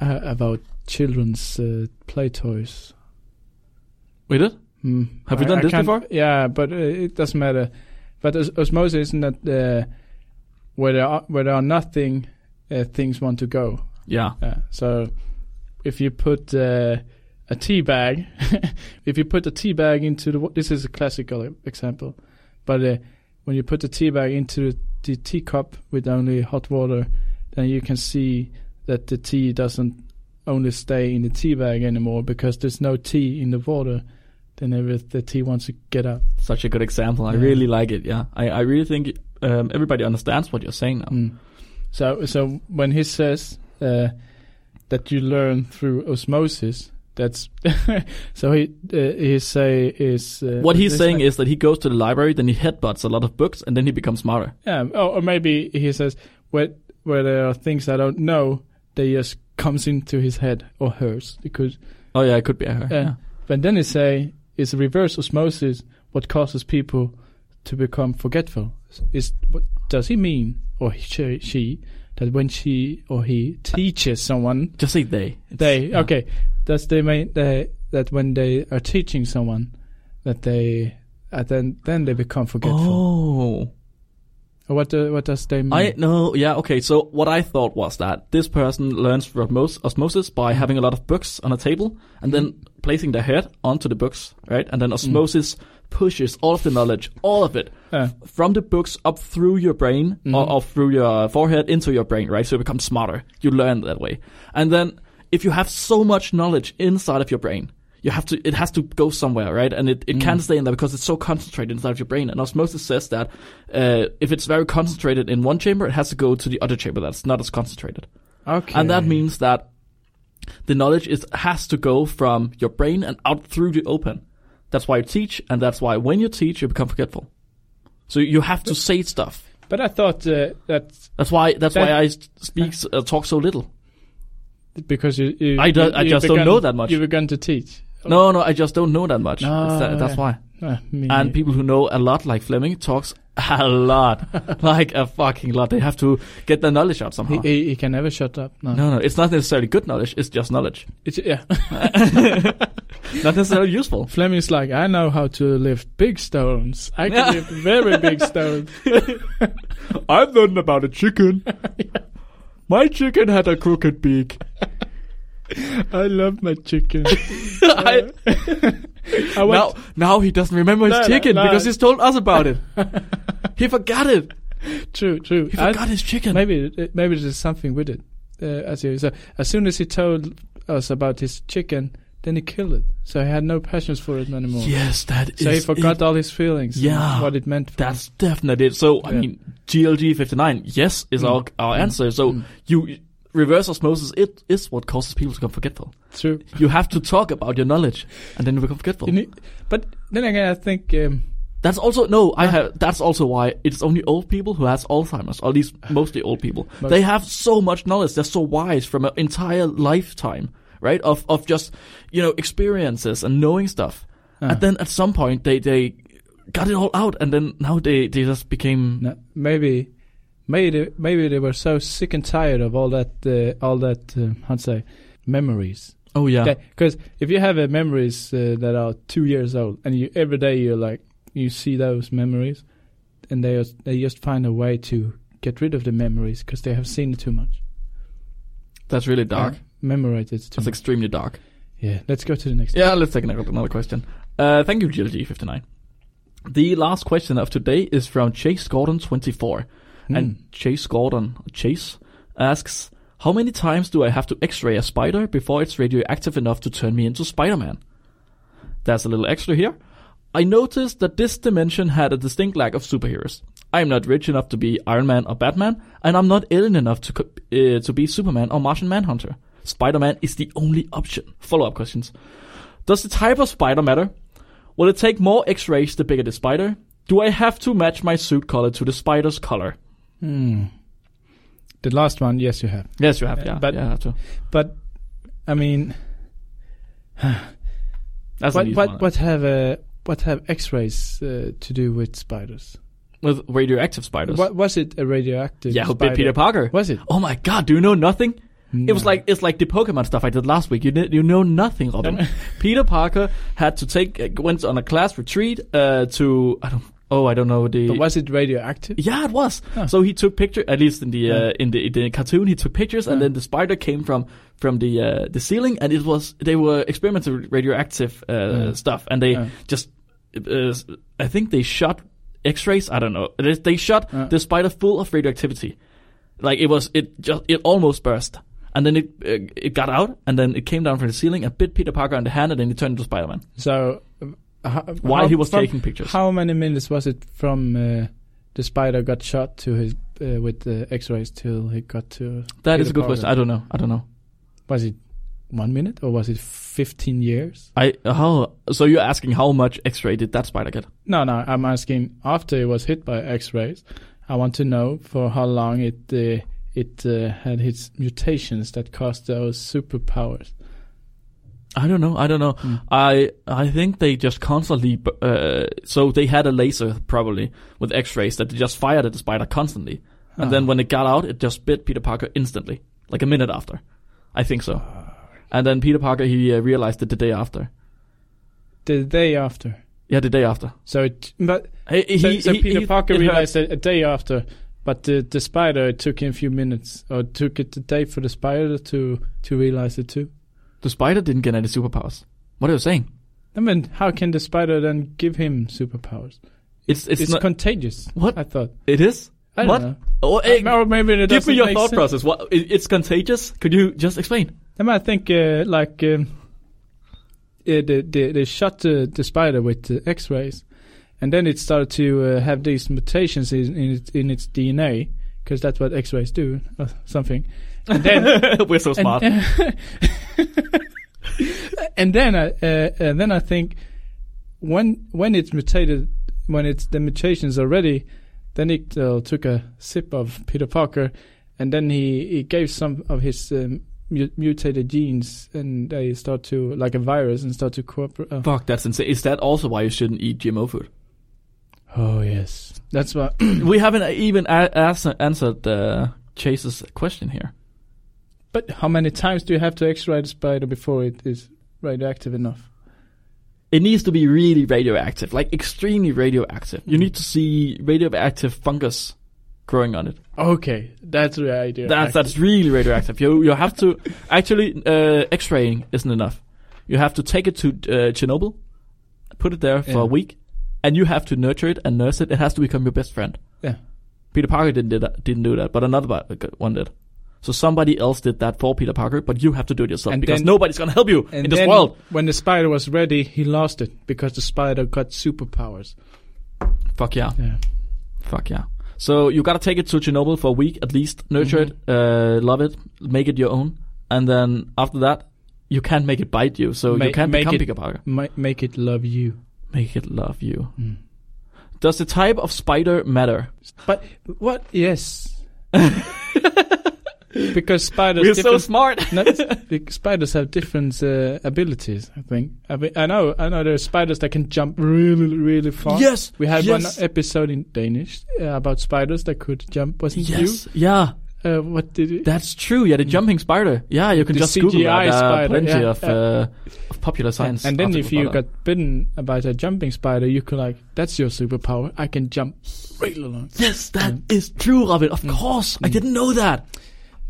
Speaker 1: uh, about children's uh, play toys.
Speaker 2: We did.
Speaker 1: Hmm.
Speaker 2: Have we done this
Speaker 1: can't-
Speaker 2: before?
Speaker 1: Yeah, but uh, it doesn't matter. But os- osmosis isn't that uh, where there are, where there are nothing, uh, things want to go.
Speaker 2: Yeah.
Speaker 1: Yeah. So if you put uh, a tea bag, <laughs> if you put a tea bag into the wa- this is a classical example, but uh, when you put the tea bag into the teacup with only hot water, then you can see that the tea doesn't only stay in the tea bag anymore because there's no tea in the water. Then every, the tea wants to get out.
Speaker 2: Such a good example. I
Speaker 1: Yeah.
Speaker 2: really like it. Yeah. I, I really think um, everybody understands what you're saying now.
Speaker 1: Mm. So, so when he says uh, that you learn through osmosis, that's <laughs> so he uh, he say is uh,
Speaker 2: What he's
Speaker 1: this
Speaker 2: saying
Speaker 1: thing-
Speaker 2: is that he goes to the library, then he headbutts a lot of books, and then he becomes smarter.
Speaker 1: yeah, oh, or, or maybe he says where where there are things I don't know, they just comes into his head or hers because.
Speaker 2: Oh yeah, it could be her.
Speaker 1: Yeah. But then he say is reverse osmosis what causes people to become forgetful. Is what does he mean or she, she that when she or he teaches someone
Speaker 2: Just say they. It's-
Speaker 1: They
Speaker 2: yeah.
Speaker 1: okay. That's they mean they that when they are teaching someone that they uh, then then they become forgetful.
Speaker 2: Oh,
Speaker 1: Or What do, what does they mean?
Speaker 2: I know. Yeah, okay. So what I thought was that this person learns through osmos- osmosis by having a lot of books on a table and then
Speaker 1: Mm-hmm.
Speaker 2: placing their head onto the books, right? And
Speaker 1: Mm.
Speaker 2: then osmosis pushes all of the knowledge, all of it,
Speaker 1: Uh,
Speaker 2: from the books up through your brain or, or through your forehead into your brain, right? So you become smarter. You learn that way. And then if you have so much knowledge inside of your brain, you have to, it has to go somewhere, right? And it, it can't stay in there because it's so concentrated inside of your brain. And osmosis says that, uh, if it's very concentrated in one chamber, it has to go to the other chamber that's not as concentrated.
Speaker 1: okay.
Speaker 2: And that means that the knowledge is has to go from your brain and out through the open. That's why you teach, and that's why when you teach, you become forgetful. So you have to say stuff.
Speaker 1: But I thought uh, that
Speaker 2: That's why. That's
Speaker 1: That-
Speaker 2: why I s- speak s- uh, talk so little.
Speaker 1: because you, you
Speaker 2: I don't-
Speaker 1: you-
Speaker 2: I
Speaker 1: you
Speaker 2: just don't
Speaker 1: began-
Speaker 2: know that much.
Speaker 1: You began to teach.
Speaker 2: No, no, I just don't know that much.
Speaker 1: No,
Speaker 2: It's that- that's
Speaker 1: Oh. Ah, yeah.
Speaker 2: why.
Speaker 1: Uh, me.
Speaker 2: And people who know a lot, like Fleming, talks a
Speaker 1: <laughs>
Speaker 2: lot, like a fucking lot. They have to get their knowledge out
Speaker 1: he,
Speaker 2: somehow.
Speaker 1: he, he can never shut up. No.
Speaker 2: no, no, it's not necessarily good knowledge. It's just knowledge,
Speaker 1: It's, yeah. <laughs>
Speaker 2: not necessarily useful.
Speaker 1: Fleming's like I know how to lift big stones. I can lift very
Speaker 2: <laughs>
Speaker 1: big stones.
Speaker 2: I've learned about a <laughs> chicken. My chicken had a crooked beak.
Speaker 1: I love my chicken.
Speaker 2: <laughs> I,
Speaker 1: I want
Speaker 2: now, now he doesn't remember his
Speaker 1: No, no,
Speaker 2: chicken
Speaker 1: no.
Speaker 2: because he's told us about <laughs> it. he forgot it.
Speaker 1: true true.
Speaker 2: He
Speaker 1: I-
Speaker 2: forgot his chicken.
Speaker 1: maybe it- maybe there's something with it. Uh, as he so as soon as he told us about his chicken, then he killed it. So he had no passions for it anymore.
Speaker 2: Yes, that is.
Speaker 1: so he forgot
Speaker 2: it.
Speaker 1: all his feelings. and
Speaker 2: Yeah.
Speaker 1: what it meant. For
Speaker 2: That's definitely it. So I
Speaker 1: Yeah.
Speaker 2: mean, GLG fifty nine. Yes, is our our answer. So you reverse osmosis. It is what causes people to become forgetful.
Speaker 1: him. true.
Speaker 2: You have to talk about your knowledge, and then you become forgetful.
Speaker 1: You need- but then again, I think um,
Speaker 2: That's also no. I have. That's also why it's only old people who has Alzheimer's, or at
Speaker 1: <sighs>
Speaker 2: least mostly old people. They have so much knowledge. They're so wise from an entire lifetime, right? Of of just you know experiences and knowing stuff. And then at some point they they got it all out, and then now they they just became
Speaker 1: no, maybe maybe they, maybe they were so sick and tired of all that uh, all that uh, how'd say memories.
Speaker 2: oh yeah
Speaker 1: Because if you have uh, memories uh, that are two years old, and you every day you're like you see those memories, and they just- they just find a way to get rid of the memories because they have seen it too much,
Speaker 2: that's really dark.
Speaker 1: Yeah. memorized it too.
Speaker 2: That's
Speaker 1: much.
Speaker 2: extremely dark.
Speaker 1: yeah, let's go to the next.
Speaker 2: Yeah, let's take another, another question. Uh, thank you, GLG59. The last question of today is from Chase Gordon24.
Speaker 1: Hmm.
Speaker 2: And Chase Gordon, Chase, asks, How many times do I have to x ray a spider before it's radioactive enough to turn me into Spider Man? There's a little extra here. I noticed that this dimension had a distinct lack of superheroes. I'm not rich enough to be Iron Man or Batman, and I'm not alien enough to co- uh, to be Superman or Martian Manhunter. Spider-Man is the only option. Follow-up questions: Does the type of spider matter? Will it take more X-rays the bigger the spider? Do I have to match my suit color to the spider's color?
Speaker 1: Hmm. The last one, yes, you have.
Speaker 2: Yes, you have.
Speaker 1: Uh,
Speaker 2: Yeah,
Speaker 1: but-
Speaker 2: yeah, I have to.
Speaker 1: But I mean,
Speaker 2: That's an
Speaker 1: what
Speaker 2: easy one.
Speaker 1: what, what have uh, what have X-rays uh, to do with spiders?
Speaker 2: with radioactive spiders?
Speaker 1: What, was it a radioactive?
Speaker 2: yeah, who
Speaker 1: spider?
Speaker 2: bit Peter Parker?
Speaker 1: Was it? Hmm.
Speaker 2: Oh my god, do you know nothing? It was
Speaker 1: No.
Speaker 2: like it's like the Pokemon stuff I did last week. You did, you know nothing, <laughs> Robin. Peter Parker had to take uh, went on a class retreat uh, to I don't oh I don't know the
Speaker 1: But was it radioactive?
Speaker 2: yeah it was.
Speaker 1: Huh.
Speaker 2: So he took picture at least in the uh,
Speaker 1: Yeah.
Speaker 2: in the, the cartoon he took pictures and
Speaker 1: Huh.
Speaker 2: then the spider came from from the uh, the ceiling and it was they were experimenting with radioactive uh,
Speaker 1: Yeah.
Speaker 2: stuff and they
Speaker 1: Yeah.
Speaker 2: just uh, I think they shot X-rays. I don't know. They, they shot
Speaker 1: Yeah.
Speaker 2: the spider full of radioactivity. Like it was, it just it almost burst, and then it uh, it got out, and then it came down from the ceiling and bit Peter Parker on the hand, and then he turned into Spider-Man
Speaker 1: So, uh, how,
Speaker 2: while
Speaker 1: how-
Speaker 2: he was
Speaker 1: from-
Speaker 2: taking pictures.
Speaker 1: How many minutes was it from uh, the spider got shot to his uh, with the X-rays till he got to?
Speaker 2: that is
Speaker 1: Peter
Speaker 2: a good
Speaker 1: Parker?
Speaker 2: question. I don't know. I don't know.
Speaker 1: Was it one minute or was it fifteen years?
Speaker 2: I how so you're asking how much X-ray did that spider get?
Speaker 1: No, no. I'm asking after he was hit by X-rays. I want to know for how long it uh, it uh, had its mutations that caused those superpowers.
Speaker 2: I don't know. I don't know.
Speaker 1: Mm.
Speaker 2: I I think they just constantly. b- Uh, so they had a laser probably with X-rays that they just fired at the spider constantly, and
Speaker 1: Ah.
Speaker 2: then when it got out, it just bit Peter Parker instantly, like a minute after. I think so.
Speaker 1: Ah.
Speaker 2: And then Peter Parker he uh, realized it the day after.
Speaker 1: the day after.
Speaker 2: Yeah, the day after.
Speaker 1: So it, but
Speaker 2: He, he,
Speaker 1: so, so
Speaker 2: he-
Speaker 1: Peter
Speaker 2: he-
Speaker 1: Parker
Speaker 2: it hurt.
Speaker 1: realized it a day after, but the, the spider it took him a few minutes, or it took it a day for the spider to to realize it too.
Speaker 2: the spider didn't get any superpowers. What are you saying?
Speaker 1: I mean, how can the spider then give him superpowers?
Speaker 2: It's it's,
Speaker 1: It's,
Speaker 2: not.
Speaker 1: contagious.
Speaker 2: What?
Speaker 1: I thought.
Speaker 2: it is.
Speaker 1: I
Speaker 2: What?
Speaker 1: don't
Speaker 2: Oh, eh,
Speaker 1: know. Or maybe it
Speaker 2: give
Speaker 1: doesn't
Speaker 2: me your
Speaker 1: make
Speaker 2: thought
Speaker 1: sense.
Speaker 2: process. What? It, it's contagious. Could you just explain?
Speaker 1: I mean, I think uh, like um, uh, they, they they shot the, the spider with uh, X-rays, and then it started to uh, have these mutations in in its, in its DNA because that's what X-rays do or something. And then
Speaker 2: <laughs> We're so smart.
Speaker 1: And, <laughs> and then I uh, and then I think when when it's mutated, when it's the mutations are ready, then it uh, took a sip of Peter Parker, and then he, he gave some of his um, mu- mutated genes, and they start to like a virus and start to cooperate. Oh.
Speaker 2: Fuck, that's insane. Is that also why you shouldn't eat GMO food? <clears throat>
Speaker 1: oh yes, that's what.
Speaker 2: we haven't even a- as- answered uh, Chase's question here.
Speaker 1: <clears throat> but how many times do you have to X-ray the spider before it is radioactive enough?
Speaker 2: It needs to be really radioactive, like extremely radioactive. You need to see radioactive fungus growing on it.
Speaker 1: Okay, that's the idea.
Speaker 2: That's that's really radioactive. You you have to actually uh, X-raying isn't enough. You have to take it to uh, Chernobyl, put it there for a
Speaker 1: Yeah.
Speaker 2: week, and you have to nurture it and nurse it. It has to become your best friend.
Speaker 1: Yeah.
Speaker 2: Peter Parker didn't did that, didn't do that, but another bu- one did. So somebody else did that for Peter Parker, but you have to do it yourself
Speaker 1: And
Speaker 2: because
Speaker 1: then-
Speaker 2: nobody's gonna help you in this
Speaker 1: then
Speaker 2: world.
Speaker 1: When the spider was ready, he lost it because the spider got superpowers.
Speaker 2: Fuck yeah,
Speaker 1: Yeah.
Speaker 2: fuck yeah. So you gotta take it to Chernobyl for a week at least, nurture
Speaker 1: Mm-hmm.
Speaker 2: it, uh, love it, make it your own, and then after that, you can't make it bite you. So you
Speaker 1: Make-
Speaker 2: can't
Speaker 1: make
Speaker 2: become
Speaker 1: it-
Speaker 2: Peter Parker.
Speaker 1: Might make it love you.
Speaker 2: Make it love you.
Speaker 1: Mm.
Speaker 2: Does the type of spider matter?
Speaker 1: But what?
Speaker 2: <laughs>
Speaker 1: Yes. because spiders.
Speaker 2: We're so
Speaker 1: different-
Speaker 2: smart.
Speaker 1: no, it's- bec- spiders have different uh, abilities. I think. I, mean, I know. I know there are spiders that can jump really, really far.
Speaker 2: <laughs> Yes.
Speaker 1: We had
Speaker 2: yes,
Speaker 1: one uh, episode in Danish uh, about spiders that could jump. Wasn't
Speaker 2: Yes. Yeah,
Speaker 1: you? Uh, what did it?
Speaker 2: that's true. Yeah, the jumping spider. Yeah, you can
Speaker 1: Mm. The
Speaker 2: just Google
Speaker 1: CGI
Speaker 2: that. There are
Speaker 1: spider,
Speaker 2: plenty
Speaker 1: yeah,
Speaker 2: of,
Speaker 1: yeah.
Speaker 2: Uh, of popular science.
Speaker 1: And then
Speaker 2: articles
Speaker 1: if you
Speaker 2: about that.
Speaker 1: got bitten about a jumping spider, you could like, that's your superpower. I can jump really long.
Speaker 2: yes, that
Speaker 1: Mm.
Speaker 2: is true, Robin. Of course, I didn't know that.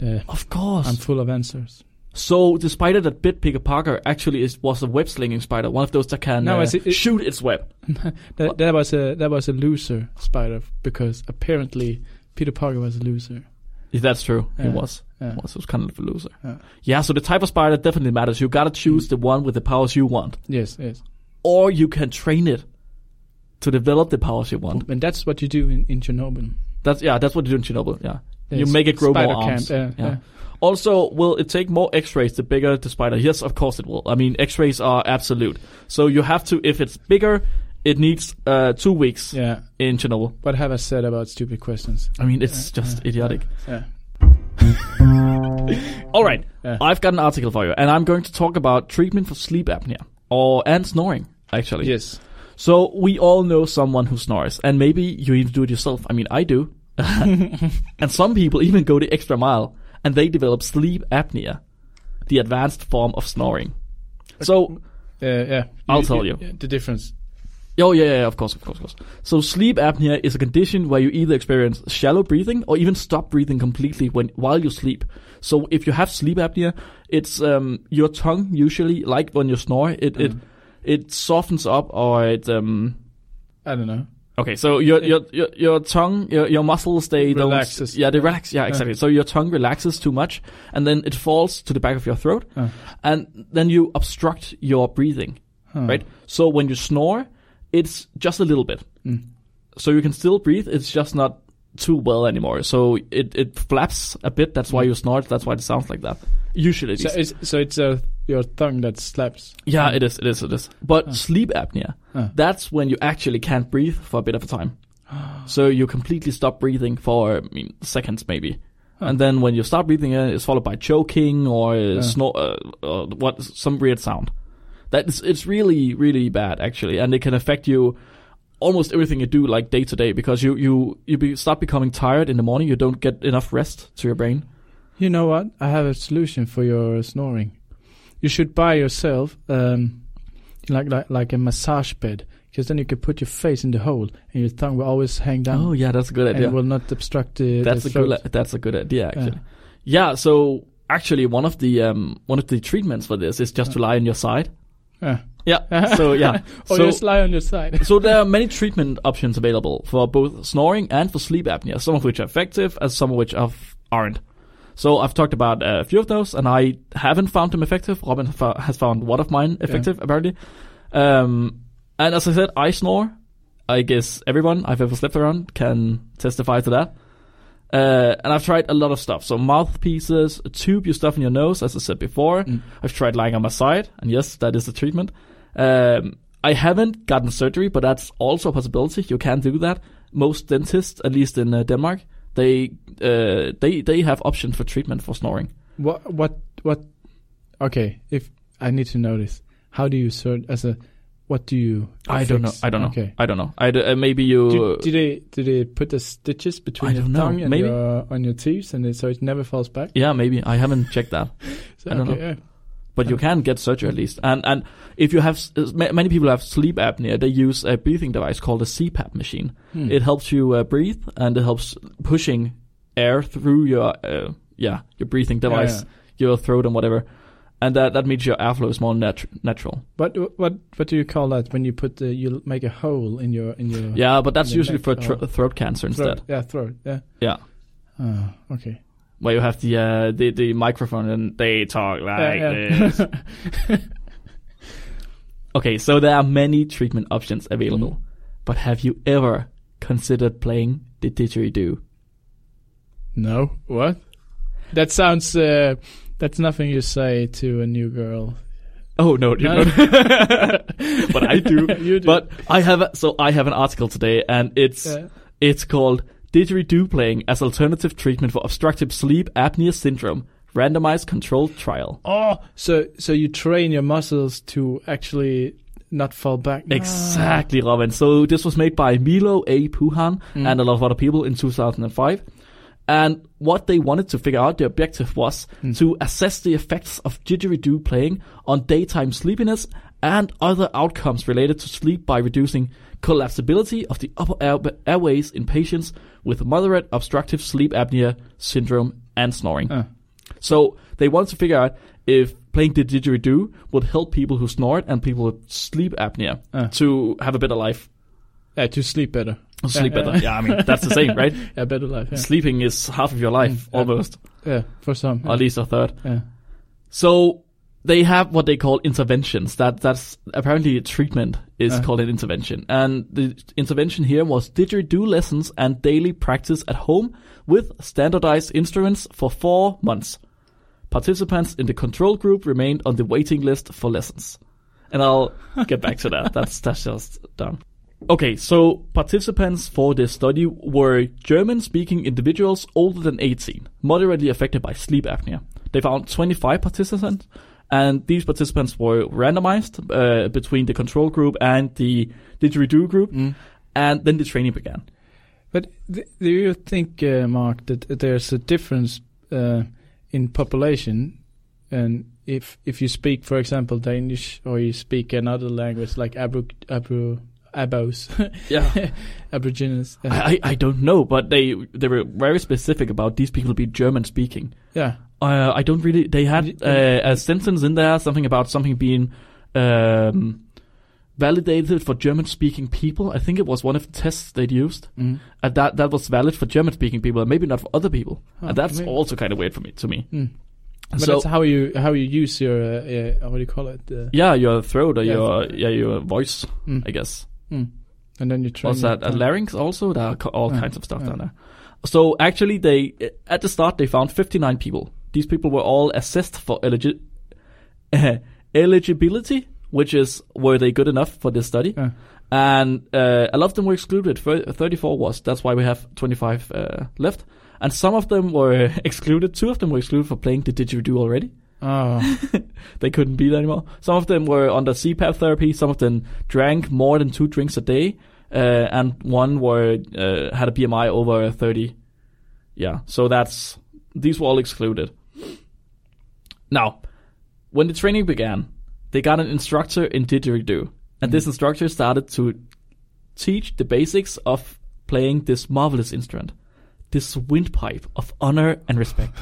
Speaker 1: Uh,
Speaker 2: Of course.
Speaker 1: I'm full of answers.
Speaker 2: so the spider that bit Peter Parker actually is was a web slinging spider, one of those that can
Speaker 1: No,
Speaker 2: uh,
Speaker 1: it's- it-
Speaker 2: shoot its web.
Speaker 1: That, that was a that was a loser spider because apparently Peter Parker was a loser.
Speaker 2: Yeah, That's true.
Speaker 1: Yeah.
Speaker 2: It was.
Speaker 1: Yeah.
Speaker 2: It was. It was kind of a loser.
Speaker 1: Yeah.
Speaker 2: yeah. So the type of spider definitely matters. You gotta choose the one with the powers you want.
Speaker 1: Yes, yes.
Speaker 2: or you can train it to develop the powers you want.
Speaker 1: And that's what you do in, in Chernobyl.
Speaker 2: That's yeah, that's what you do in Chernobyl. Yeah, you
Speaker 1: There's
Speaker 2: make it grow more
Speaker 1: spider
Speaker 2: arms.
Speaker 1: camp, yeah, yeah.
Speaker 2: Also, will it take more X-rays the bigger the spider? Yes, of course it will. I mean, X-rays are absolute. So you have to, if it's bigger, it needs uh, two weeks
Speaker 1: Yeah.
Speaker 2: in Chernobyl.
Speaker 1: What have I said about stupid questions?
Speaker 2: I mean, it's just idiotic.
Speaker 1: Yeah.
Speaker 2: All right,
Speaker 1: Yeah.
Speaker 2: I've got an article for you, and I'm going to talk about treatment for sleep apnea or and snoring. Actually,
Speaker 1: Yes.
Speaker 2: So we all know someone who snores, and maybe you even do it yourself. I mean, I
Speaker 1: <laughs>
Speaker 2: do. and some people even go the extra mile, and they develop sleep apnea, the advanced form of snoring. So,
Speaker 1: Uh, yeah.
Speaker 2: I'll tell you.
Speaker 1: The difference.
Speaker 2: oh yeah, yeah, yeah, of course, of course, of course. So sleep apnea is a condition where you either experience shallow breathing or even stop breathing completely when while you sleep. So if you have sleep apnea, it's um your tongue usually, like when you snore, it it it softens up or it um
Speaker 1: I don't know.
Speaker 2: Okay, so your your your, your tongue, your, your muscles, they
Speaker 1: Relaxes.
Speaker 2: don't. Yeah, they relax. Yeah, exactly. So your tongue relaxes too much, and then it falls to the back of your throat,
Speaker 1: Uh.
Speaker 2: and then you obstruct your breathing.
Speaker 1: Huh.
Speaker 2: Right. So when you snore, it's just a little bit.
Speaker 1: Hmm.
Speaker 2: So you can still breathe. It's just not too well anymore. So it it flaps a bit. That's why you snort. That's why it sounds like that. Usually, at
Speaker 1: So
Speaker 2: least.
Speaker 1: it's so it's uh, your tongue that slaps.
Speaker 2: yeah, it is. It is. It is. But sleep apnea.
Speaker 1: Huh.
Speaker 2: That's when you actually can't breathe for a bit of a
Speaker 1: <gasps>
Speaker 2: time. So you completely stop breathing for I mean, seconds maybe. And then when you stop breathing, uh, it's followed by choking or uh, snor- uh, uh, what some weird sound. That is, it's really really bad actually, and it can affect you almost everything you do like day to day because you you you be, start becoming tired in the morning. You don't get enough rest to your brain.
Speaker 1: You know what? I have a solution for your snoring. You should buy yourself um, like like like a massage bed, because then you can put your face in the hole, and your tongue will always hang down,
Speaker 2: Oh yeah, that's a good
Speaker 1: and
Speaker 2: idea.
Speaker 1: it will not obstruct the.
Speaker 2: that's
Speaker 1: the
Speaker 2: a good
Speaker 1: throat.
Speaker 2: i- that's a good idea actually. Yeah. so actually one of the um one of the treatments for this is just to lie on your side.
Speaker 1: Yeah.
Speaker 2: Yeah. So yeah.
Speaker 1: Or
Speaker 2: so
Speaker 1: just lie on your
Speaker 2: <laughs>
Speaker 1: side.
Speaker 2: so there are many treatment options available for both snoring and for sleep apnea, some of which are effective and some of which are f- aren't. So I've talked about uh, a few of those and I haven't found them effective. Robin fa- has found one of mine effective apparently. Um and as I said, I snore. I guess everyone I've ever slept around can testify to that. Uh, and I've tried a lot of stuff. So mouthpieces, a tube you stuff in your nose, as I said before.
Speaker 1: Mm.
Speaker 2: I've tried lying on my side, and yes, that is the treatment. Um, I haven't gotten surgery, but that's also a possibility. You can do that. Most dentists, at least in uh, Denmark, they uh, they they have options for treatment for snoring.
Speaker 1: what what what? Okay, if I need to know this, how do you sort as a? What do you?
Speaker 2: I don't know.
Speaker 1: fix?
Speaker 2: I don't know.
Speaker 1: Okay.
Speaker 2: I don't know. I d- uh, maybe you.
Speaker 1: Do, do they do they put the stitches
Speaker 2: I
Speaker 1: between your
Speaker 2: don't know,
Speaker 1: tongue and
Speaker 2: maybe.
Speaker 1: your on your teeth, and it, so it never falls back?
Speaker 2: yeah, maybe I haven't checked that.
Speaker 1: So,
Speaker 2: I don't
Speaker 1: okay,
Speaker 2: but you can get surgery at least. And and if you have s- s- ma- many people have sleep apnea, they use a breathing device called a CPAP machine.
Speaker 1: Hmm.
Speaker 2: It helps you uh, breathe and it helps pushing air through your uh, yeah your breathing device,
Speaker 1: yeah.
Speaker 2: your throat and whatever. And that that means your airflow is more nat- natural.
Speaker 1: What what what do you call that when you put the you make a hole in your in your
Speaker 2: Yeah, but
Speaker 1: And
Speaker 2: that's
Speaker 1: your
Speaker 2: usually
Speaker 1: neck,
Speaker 2: for tr-
Speaker 1: oh.
Speaker 2: throat cancer instead,
Speaker 1: throat? Yeah, throat. Yeah.
Speaker 2: Yeah.
Speaker 1: Oh, okay.
Speaker 2: where you have the uh, the the microphone and they talk like
Speaker 1: Yeah, yeah. <laughs>
Speaker 2: this. Okay, so there are many treatment options available,
Speaker 1: Mm.
Speaker 2: but have you ever considered playing the didgeridoo?
Speaker 1: no. What? That sounds. Uh, that's nothing you say to a new girl.
Speaker 2: Oh no, <laughs> you
Speaker 1: No.
Speaker 2: don't. but
Speaker 1: <laughs>
Speaker 2: I do.
Speaker 1: You do.
Speaker 2: But I have a, so I have an article today, and it's
Speaker 1: Yeah.
Speaker 2: it's called "Didgeridoo Playing as Alternative Treatment for Obstructive Sleep Apnea Syndrome: Randomized Controlled Trial."
Speaker 1: Oh, so so you train your muscles to actually not fall back. Ah.
Speaker 2: Exactly, Robin. So this was made by Milo A. Puhan and a lot of other people in 2005. And what they wanted to figure out, the objective was to assess the effects of didgeridoo playing on daytime sleepiness and other outcomes related to sleep by reducing collapsibility of the upper air- airways in patients with moderate obstructive sleep apnea syndrome and snoring.
Speaker 1: Uh.
Speaker 2: So they wanted to figure out if playing the didgeridoo would help people who snort and people with sleep apnea
Speaker 1: Uh.
Speaker 2: to have a better life,
Speaker 1: <laughs> Yeah, to sleep better.
Speaker 2: or sleep
Speaker 1: yeah.
Speaker 2: better. Yeah, I mean that's the same, right?
Speaker 1: <laughs> Yeah, better life. Yeah,
Speaker 2: Sleeping is half of your life
Speaker 1: Mm, yeah. Mm.
Speaker 2: almost,
Speaker 1: yeah for some.
Speaker 2: or at least a third.
Speaker 1: yeah.
Speaker 2: So they have what they call interventions. That that's apparently a treatment is
Speaker 1: Uh.
Speaker 2: called an intervention, and the intervention here was did you do lessons and daily practice at home with standardized instruments for four months. Participants in the control group remained on the waiting list for lessons, and I'll get back to that. That's that's just dumb. Okay, so participants for this study were German-speaking individuals older than 18, moderately affected by sleep apnea. They found 25 participants, and these participants were randomized uh, between the control group and the didgeridoo group,
Speaker 1: Mm.
Speaker 2: and then the training began.
Speaker 1: But th- do you think, uh, Mark, that there's a difference uh, in population, and if if you speak, for example, Danish, or you speak another language like Abru Abru Abos, <laughs>
Speaker 2: Yeah.
Speaker 1: Aborigines, uh,
Speaker 2: <laughs> I, I I don't know, but they they were very specific about these people be German-speaking.
Speaker 1: yeah,
Speaker 2: Uh, I don't really. They had
Speaker 1: Did-
Speaker 2: uh, a sentence in there, something about something being um, validated for German-speaking people. I think it was one of the tests they'd used,
Speaker 1: mm.
Speaker 2: and that that was valid for German-speaking people, and maybe not for other people.
Speaker 1: Oh,
Speaker 2: and Uh, that's
Speaker 1: maybe.
Speaker 2: also kind of weird for me. To me,
Speaker 1: Mm. But
Speaker 2: so
Speaker 1: that's how you how you use your uh, uh, what do you call it, uh,
Speaker 2: yeah, your throat or
Speaker 1: Yeah.
Speaker 2: your yeah your voice,
Speaker 1: Mm.
Speaker 2: I guess.
Speaker 1: mm. and then you train.
Speaker 2: Was that
Speaker 1: it
Speaker 2: a
Speaker 1: down. <laughs>
Speaker 2: larynx also? There are co- all
Speaker 1: Yeah,
Speaker 2: kinds of stuff
Speaker 1: yeah.
Speaker 2: down there. So actually, they uh, at the start they found 59 people. These people were all assessed for eligi- <laughs> eligibility, which is were they good enough for this study?
Speaker 1: Yeah.
Speaker 2: And uh, a lot of them were excluded. Thir- 34 was. That's why we have 25 uh, left. And some of them were <laughs> excluded. Two of them were excluded for playing the didgeridoo already. <laughs>
Speaker 1: Oh,
Speaker 2: They couldn't be there anymore. Some of them were under CPAP therapy. Some of them drank more than two drinks a day, uh, and one were uh, had a BMI over thirty. Yeah, so that's these were all excluded. Now, when the training began, they got an instructor in didgeridoo, and this instructor started to teach the basics of playing this marvelous instrument, this windpipe of honor and respect,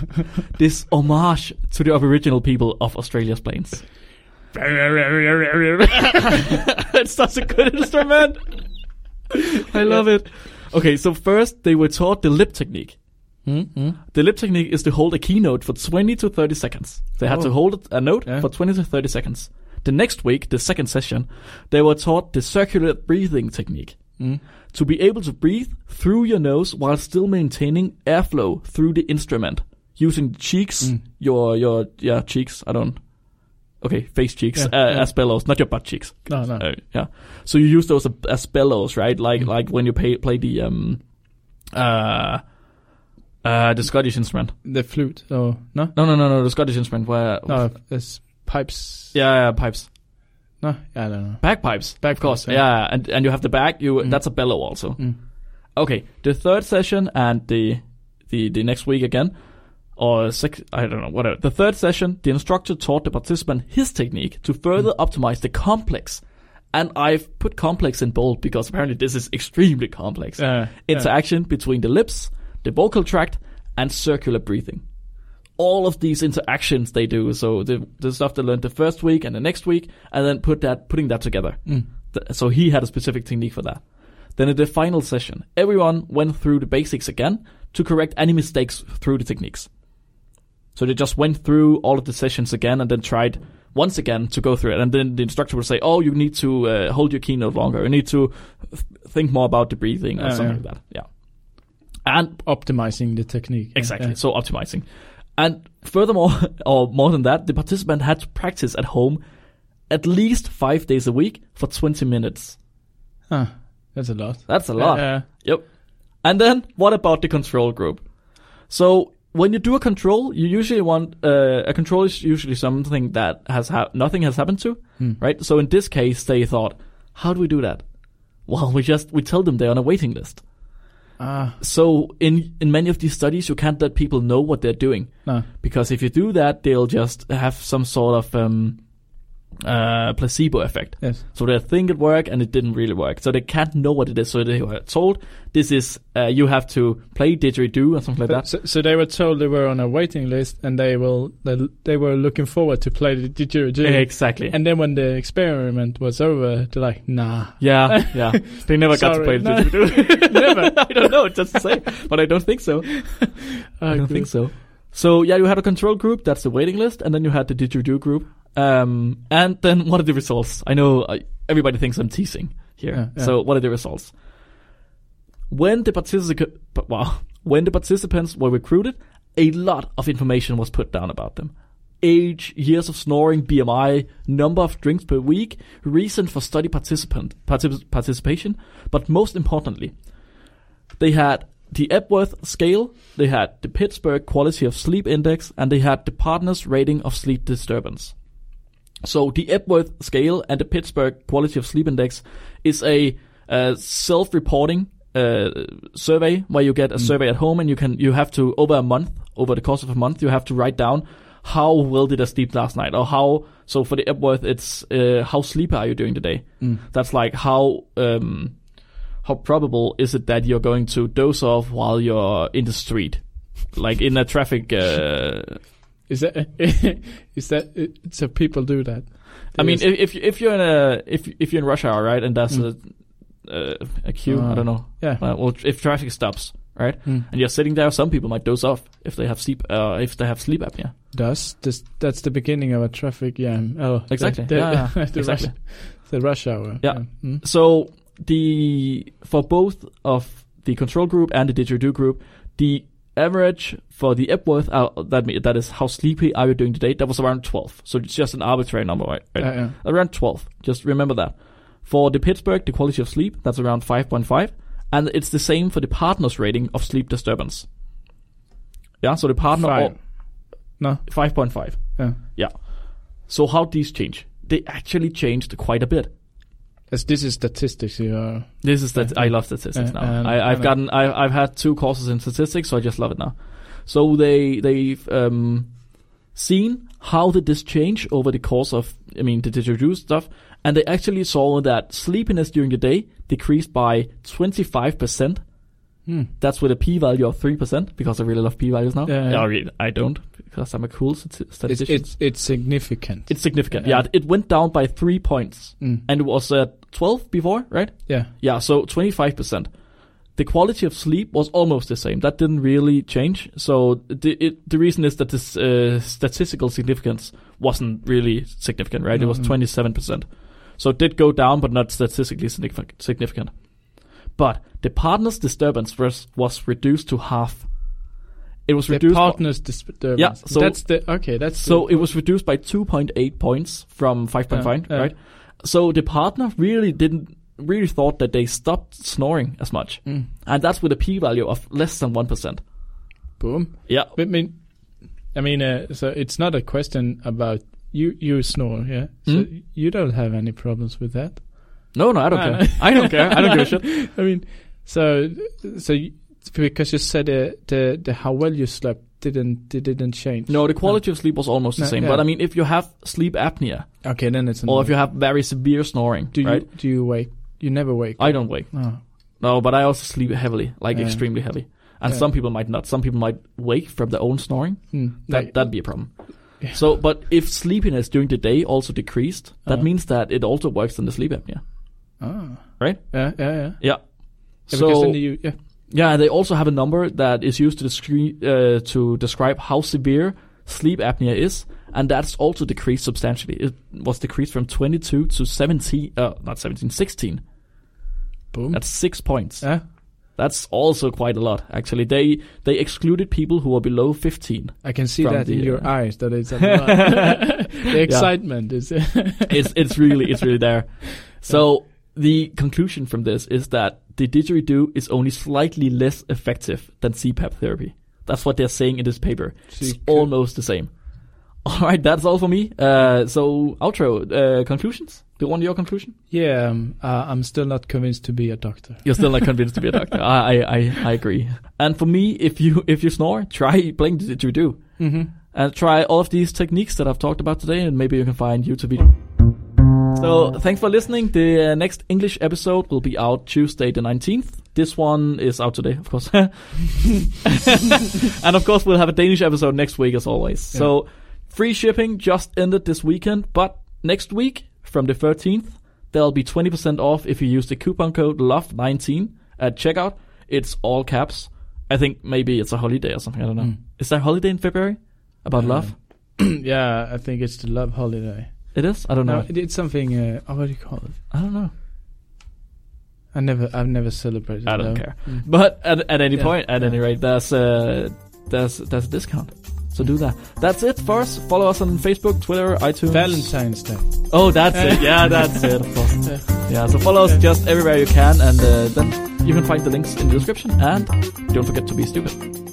Speaker 2: this homage to the original people of Australia's plains.
Speaker 1: <laughs>
Speaker 2: it's such a good instrument. <laughs> I love it. Okay, so first they were taught the lip technique.
Speaker 1: Mm, mm.
Speaker 2: The lip technique is to hold a keynote for 20 to 30 seconds. They had
Speaker 1: Oh.
Speaker 2: to hold a note
Speaker 1: Yeah.
Speaker 2: for 20 to 30 seconds. The next week, the second session, they were taught the circular breathing technique.
Speaker 1: Mm.
Speaker 2: To be able to breathe through your nose while still maintaining airflow through the instrument, using the cheeks,
Speaker 1: Mm.
Speaker 2: your your yeah cheeks. I don't. Okay, face cheeks
Speaker 1: Yeah,
Speaker 2: uh,
Speaker 1: yeah.
Speaker 2: as bellows, not your butt cheeks.
Speaker 1: no, no,
Speaker 2: Uh, yeah. So you use those ab- as bellows, right?
Speaker 1: Mm.
Speaker 2: Like like when you pay, play the um uh uh the Scottish instrument.
Speaker 1: the flute, oh no,
Speaker 2: No, no, no, no. The Scottish instrument where
Speaker 1: no, it's pipes.
Speaker 2: yeah, yeah, pipes,
Speaker 1: no, I don't know.
Speaker 2: bagpipes,
Speaker 1: Bagpipes,
Speaker 2: of course.
Speaker 1: yeah.
Speaker 2: Yeah, and and you have the bag. You that's a bellow also.
Speaker 1: Mm.
Speaker 2: Okay, the third session and the the the next week again. Or six, I don't know, whatever. The third session, the instructor taught the participant his technique to further
Speaker 1: Mm.
Speaker 2: optimize the complex. And I've put complex in bold because apparently this is extremely complex.
Speaker 1: Uh, yeah.
Speaker 2: interaction between the lips, the vocal tract, and circular breathing. All of these interactions they do. So the, the stuff they learned the first week and the next week, and then put that putting that together.
Speaker 1: mm.
Speaker 2: Th- so he had a specific technique for that. Then in the final session, everyone went through the basics again to correct any mistakes through the techniques. So they just went through all of the sessions again and then tried once again to go through it. And then the instructor would say, "Oh, you need to uh, hold your keynote longer. You need to th- think more about the breathing or
Speaker 1: Yeah,
Speaker 2: something
Speaker 1: Oh, yeah.
Speaker 2: like that." Yeah. And
Speaker 1: optimizing the technique. Yeah,
Speaker 2: Exactly.
Speaker 1: yeah.
Speaker 2: So optimizing. And furthermore, <laughs> or more than that, the participant had to practice at home at least five days a week for 20 minutes.
Speaker 1: Huh. Ah, That's a lot.
Speaker 2: That's a lot.
Speaker 1: Uh,
Speaker 2: Yep. And then what about the control group? So when you do a control, you usually want uh, a control is usually something that has ha- nothing has happened to, right? So in this case, they thought, how do we do that? Well, we just we tell them they're on a waiting list.
Speaker 1: ah,
Speaker 2: So in in many of these studies, you can't let people know what they're doing.
Speaker 1: no.
Speaker 2: because if you do that, they'll just have some sort of um, uh, placebo effect.
Speaker 1: Yes.
Speaker 2: So they think it worked and it didn't really work. So they can't know what it is. So they were told this is uh, you have to play didgeridoo or something like that.
Speaker 1: So, so they were told they were on a waiting list, and they will they, they were looking forward to play the didgeridoo.
Speaker 2: Exactly.
Speaker 1: And then when the experiment was over, they're like, "Nah, <laughs>
Speaker 2: yeah, yeah. They never got to
Speaker 1: Sorry,
Speaker 2: play the
Speaker 1: no. <laughs>
Speaker 2: didgeridoo.
Speaker 1: Never.
Speaker 2: I don't know. It doesn't say, but I don't
Speaker 1: <laughs>
Speaker 2: think so. I don't think so. So yeah, you had a control group. That's the waiting list, and then you had the didgeridoo group, Um, and then what are the results? I know uh, I, everybody thinks I'm teasing here.
Speaker 1: Yeah, yeah.
Speaker 2: So what are the results? When the partici- wow, <laughs> when the participants were recruited, a lot of information was put down about them. Age, years of snoring, BMI, number of drinks per week, reason for study participant particip- participation, but most importantly, they had the Epworth scale, they had the Pittsburgh Quality of Sleep Index, and they had the Partners Rating of Sleep Disturbance. So the Epworth scale and the Pittsburgh Quality of Sleep Index is a uh, self-reporting uh, survey where you get a survey at home and you can you have to over a month over the course of a month you have to write down how well did I sleep last night or how so for the Epworth it's uh, how sleepy are you during the day
Speaker 1: Mm.
Speaker 2: that's like how um, how probable is it that you're going to doze off while you're in the street like in a traffic uh,
Speaker 1: Is that <laughs> is that uh, so? People do that.
Speaker 2: I mean,
Speaker 1: Yes.
Speaker 2: if if you- if you're in a if if you're in rush hour, right, and that's a, a a queue. I
Speaker 1: Ah.
Speaker 2: don't know.
Speaker 1: yeah.
Speaker 2: Uh, well, if traffic stops, right,
Speaker 1: Mm.
Speaker 2: and you're sitting there, some people might doze off if they have sleep uh, if they have sleep apnea.
Speaker 1: Does this, that's the beginning of a traffic jam? Oh, the-
Speaker 2: Exactly.
Speaker 1: <laughs> The,
Speaker 2: Yeah, yeah,
Speaker 1: the
Speaker 2: exactly.
Speaker 1: rush, the rush hour.
Speaker 2: Yeah.
Speaker 1: Mm.
Speaker 2: So the for both of the control group and the didgeridoo group, the average for the Epworth uh, that me- that is how sleepy are you during the day? That was around twelve. So it's just an arbitrary number, right? right?
Speaker 1: Uh, yeah.
Speaker 2: around 12. Just remember that. For the Pittsburgh, the quality of sleep, that's around 5.5. And it's the same for the partner's rating of sleep disturbance. Yeah, so the partner. oh,
Speaker 1: Five.
Speaker 2: or-
Speaker 1: No.
Speaker 2: 5.5.
Speaker 1: Yeah.
Speaker 2: Yeah. So how these change? They actually changed quite a bit.
Speaker 1: As this is statistics, you are.
Speaker 2: This is that I love statistics
Speaker 1: Uh,
Speaker 2: now.
Speaker 1: um,
Speaker 2: I, I've
Speaker 1: I know.
Speaker 2: gotten I, I've had two courses in statistics, so I just love it now. So they they've um, seen how did this change over the course of I mean the digital stuff, and they actually saw that sleepiness during the day decreased by twenty five percent.
Speaker 1: Hmm.
Speaker 2: That's with a p value of three percent because I really love p values now.
Speaker 1: Yeah, yeah.
Speaker 2: I, really- I don't because I'm a cool stati-
Speaker 1: It's,
Speaker 2: statistician.
Speaker 1: it's it's significant.
Speaker 2: It's significant.
Speaker 1: Yeah.
Speaker 2: Yeah, it went down by three points,
Speaker 1: Mm.
Speaker 2: and it was at twelve before, right?
Speaker 1: yeah.
Speaker 2: Yeah, so 25%. The quality of sleep was almost the same. That didn't really change. So the it, the reason is that this uh, statistical significance wasn't really significant, right? It was
Speaker 1: Mhm.
Speaker 2: 27%. So it did go down, but not statistically signific- significant. But the partner's disturbance was, was reduced to half. It was
Speaker 1: The
Speaker 2: reduced. by-
Speaker 1: partners disturbance.
Speaker 2: Yeah, so-
Speaker 1: that's the okay. That's
Speaker 2: so
Speaker 1: the,
Speaker 2: it was reduced by 2.8 points from 5.5,
Speaker 1: Yeah, yeah.
Speaker 2: right? So the partner really didn't really thought that they stopped snoring as much,
Speaker 1: Mm.
Speaker 2: and that's with a p-value of less than one percent.
Speaker 1: boom.
Speaker 2: Yeah,
Speaker 1: I mean, I mean, uh, so it's not a question about you. You snore, yeah. So
Speaker 2: Hmm?
Speaker 1: you don't have any problems with that.
Speaker 2: no, no, I don't
Speaker 1: No,
Speaker 2: care.
Speaker 1: no.
Speaker 2: <laughs> I don't care. I don't give a shit.
Speaker 1: Uh, <laughs> I mean, so so you, because you said uh, the the how well you slept didn't it didn't change.
Speaker 2: No, the quality of sleep was almost the
Speaker 1: No,
Speaker 2: same.
Speaker 1: yeah.
Speaker 2: But I mean, if you have sleep apnea
Speaker 1: Okay, then it's.
Speaker 2: or if
Speaker 1: another.
Speaker 2: you have very severe snoring,
Speaker 1: do
Speaker 2: right? Uh,
Speaker 1: you do you wake? You never wake.
Speaker 2: I don't wake.
Speaker 1: Oh.
Speaker 2: No, but I also sleep heavily, like
Speaker 1: Yeah.
Speaker 2: extremely heavy. And
Speaker 1: Yeah.
Speaker 2: some people might not. Some people might wake from their own snoring.
Speaker 1: Hmm.
Speaker 2: That
Speaker 1: Like-
Speaker 2: that'd be a problem.
Speaker 1: Yeah.
Speaker 2: So, but if sleepiness during the day also decreased, that
Speaker 1: Uh-huh.
Speaker 2: means that it also works on the sleep apnea.
Speaker 1: ah.
Speaker 2: right?
Speaker 1: Yeah, yeah, yeah.
Speaker 2: Yeah.
Speaker 1: Yeah, because
Speaker 2: so
Speaker 1: then you, yeah.
Speaker 2: yeah, they also have a number that is used to descri- uh, to describe how severe sleep apnea is, and that's also decreased substantially. It was decreased from 22 to 17, uh, not 17, 16.
Speaker 1: boom.
Speaker 2: That's six points.
Speaker 1: yeah.
Speaker 2: That's also quite a lot, actually. They they excluded people who were below 15.
Speaker 1: I can see
Speaker 2: From
Speaker 1: that in
Speaker 2: the,
Speaker 1: your
Speaker 2: uh,
Speaker 1: eyes that
Speaker 2: <laughs>
Speaker 1: it's a lot. the excitement is. <laughs>
Speaker 2: it's it's really it's really there. So the conclusion from this is that the didgeridoo is only slightly less effective than CPAP therapy. That's what they're saying in this paper.
Speaker 1: So
Speaker 2: it's
Speaker 1: you could-
Speaker 2: almost the same. <laughs> All right, that's all for me. Uh, so outro uh, conclusions. Do you want your conclusion?
Speaker 1: yeah, um, uh, I'm still not convinced to be a doctor.
Speaker 2: You're still not convinced to be a
Speaker 1: <laughs>
Speaker 2: doctor. <laughs> I, I I I agree. And for me, if you if you snore, try playing the didgeridoo
Speaker 1: Mm-hmm. <clears throat>
Speaker 2: and try all of these techniques that I've talked about today, and maybe you can find YouTube video. So thanks for listening. The uh, next English episode will be out Tuesday the 19th. This one is out today, of course. <laughs> and of course, we'll have a Danish episode next week, as always. So free shipping just ended this weekend, but next week, from the 13th, there'll be 20% off if you use the coupon code LOVE19 E at checkout. It's all caps. I think maybe it's a holiday or something. I don't know. Is there a holiday in February about love?
Speaker 1: yeah, I think it's the love holiday.
Speaker 2: It is. I don't know.
Speaker 1: No, it- it's something. Uh, oh, what do you call it?
Speaker 2: I don't know.
Speaker 1: I never, I've never celebrated.
Speaker 2: I don't
Speaker 1: love.
Speaker 2: care.
Speaker 1: Mm.
Speaker 2: But at, at any
Speaker 1: Yeah.
Speaker 2: point, at
Speaker 1: Yeah.
Speaker 2: any rate, there's a there's there's a discount. So do that. That's it for us. Follow us on Facebook, Twitter, iTunes.
Speaker 1: Valentine's Day.
Speaker 2: Oh, that's
Speaker 1: <laughs>
Speaker 2: it. Yeah, that's it. Of course. Yeah. So follow us just everywhere you can, and uh, then you can find the links in the description. And don't forget to be stupid.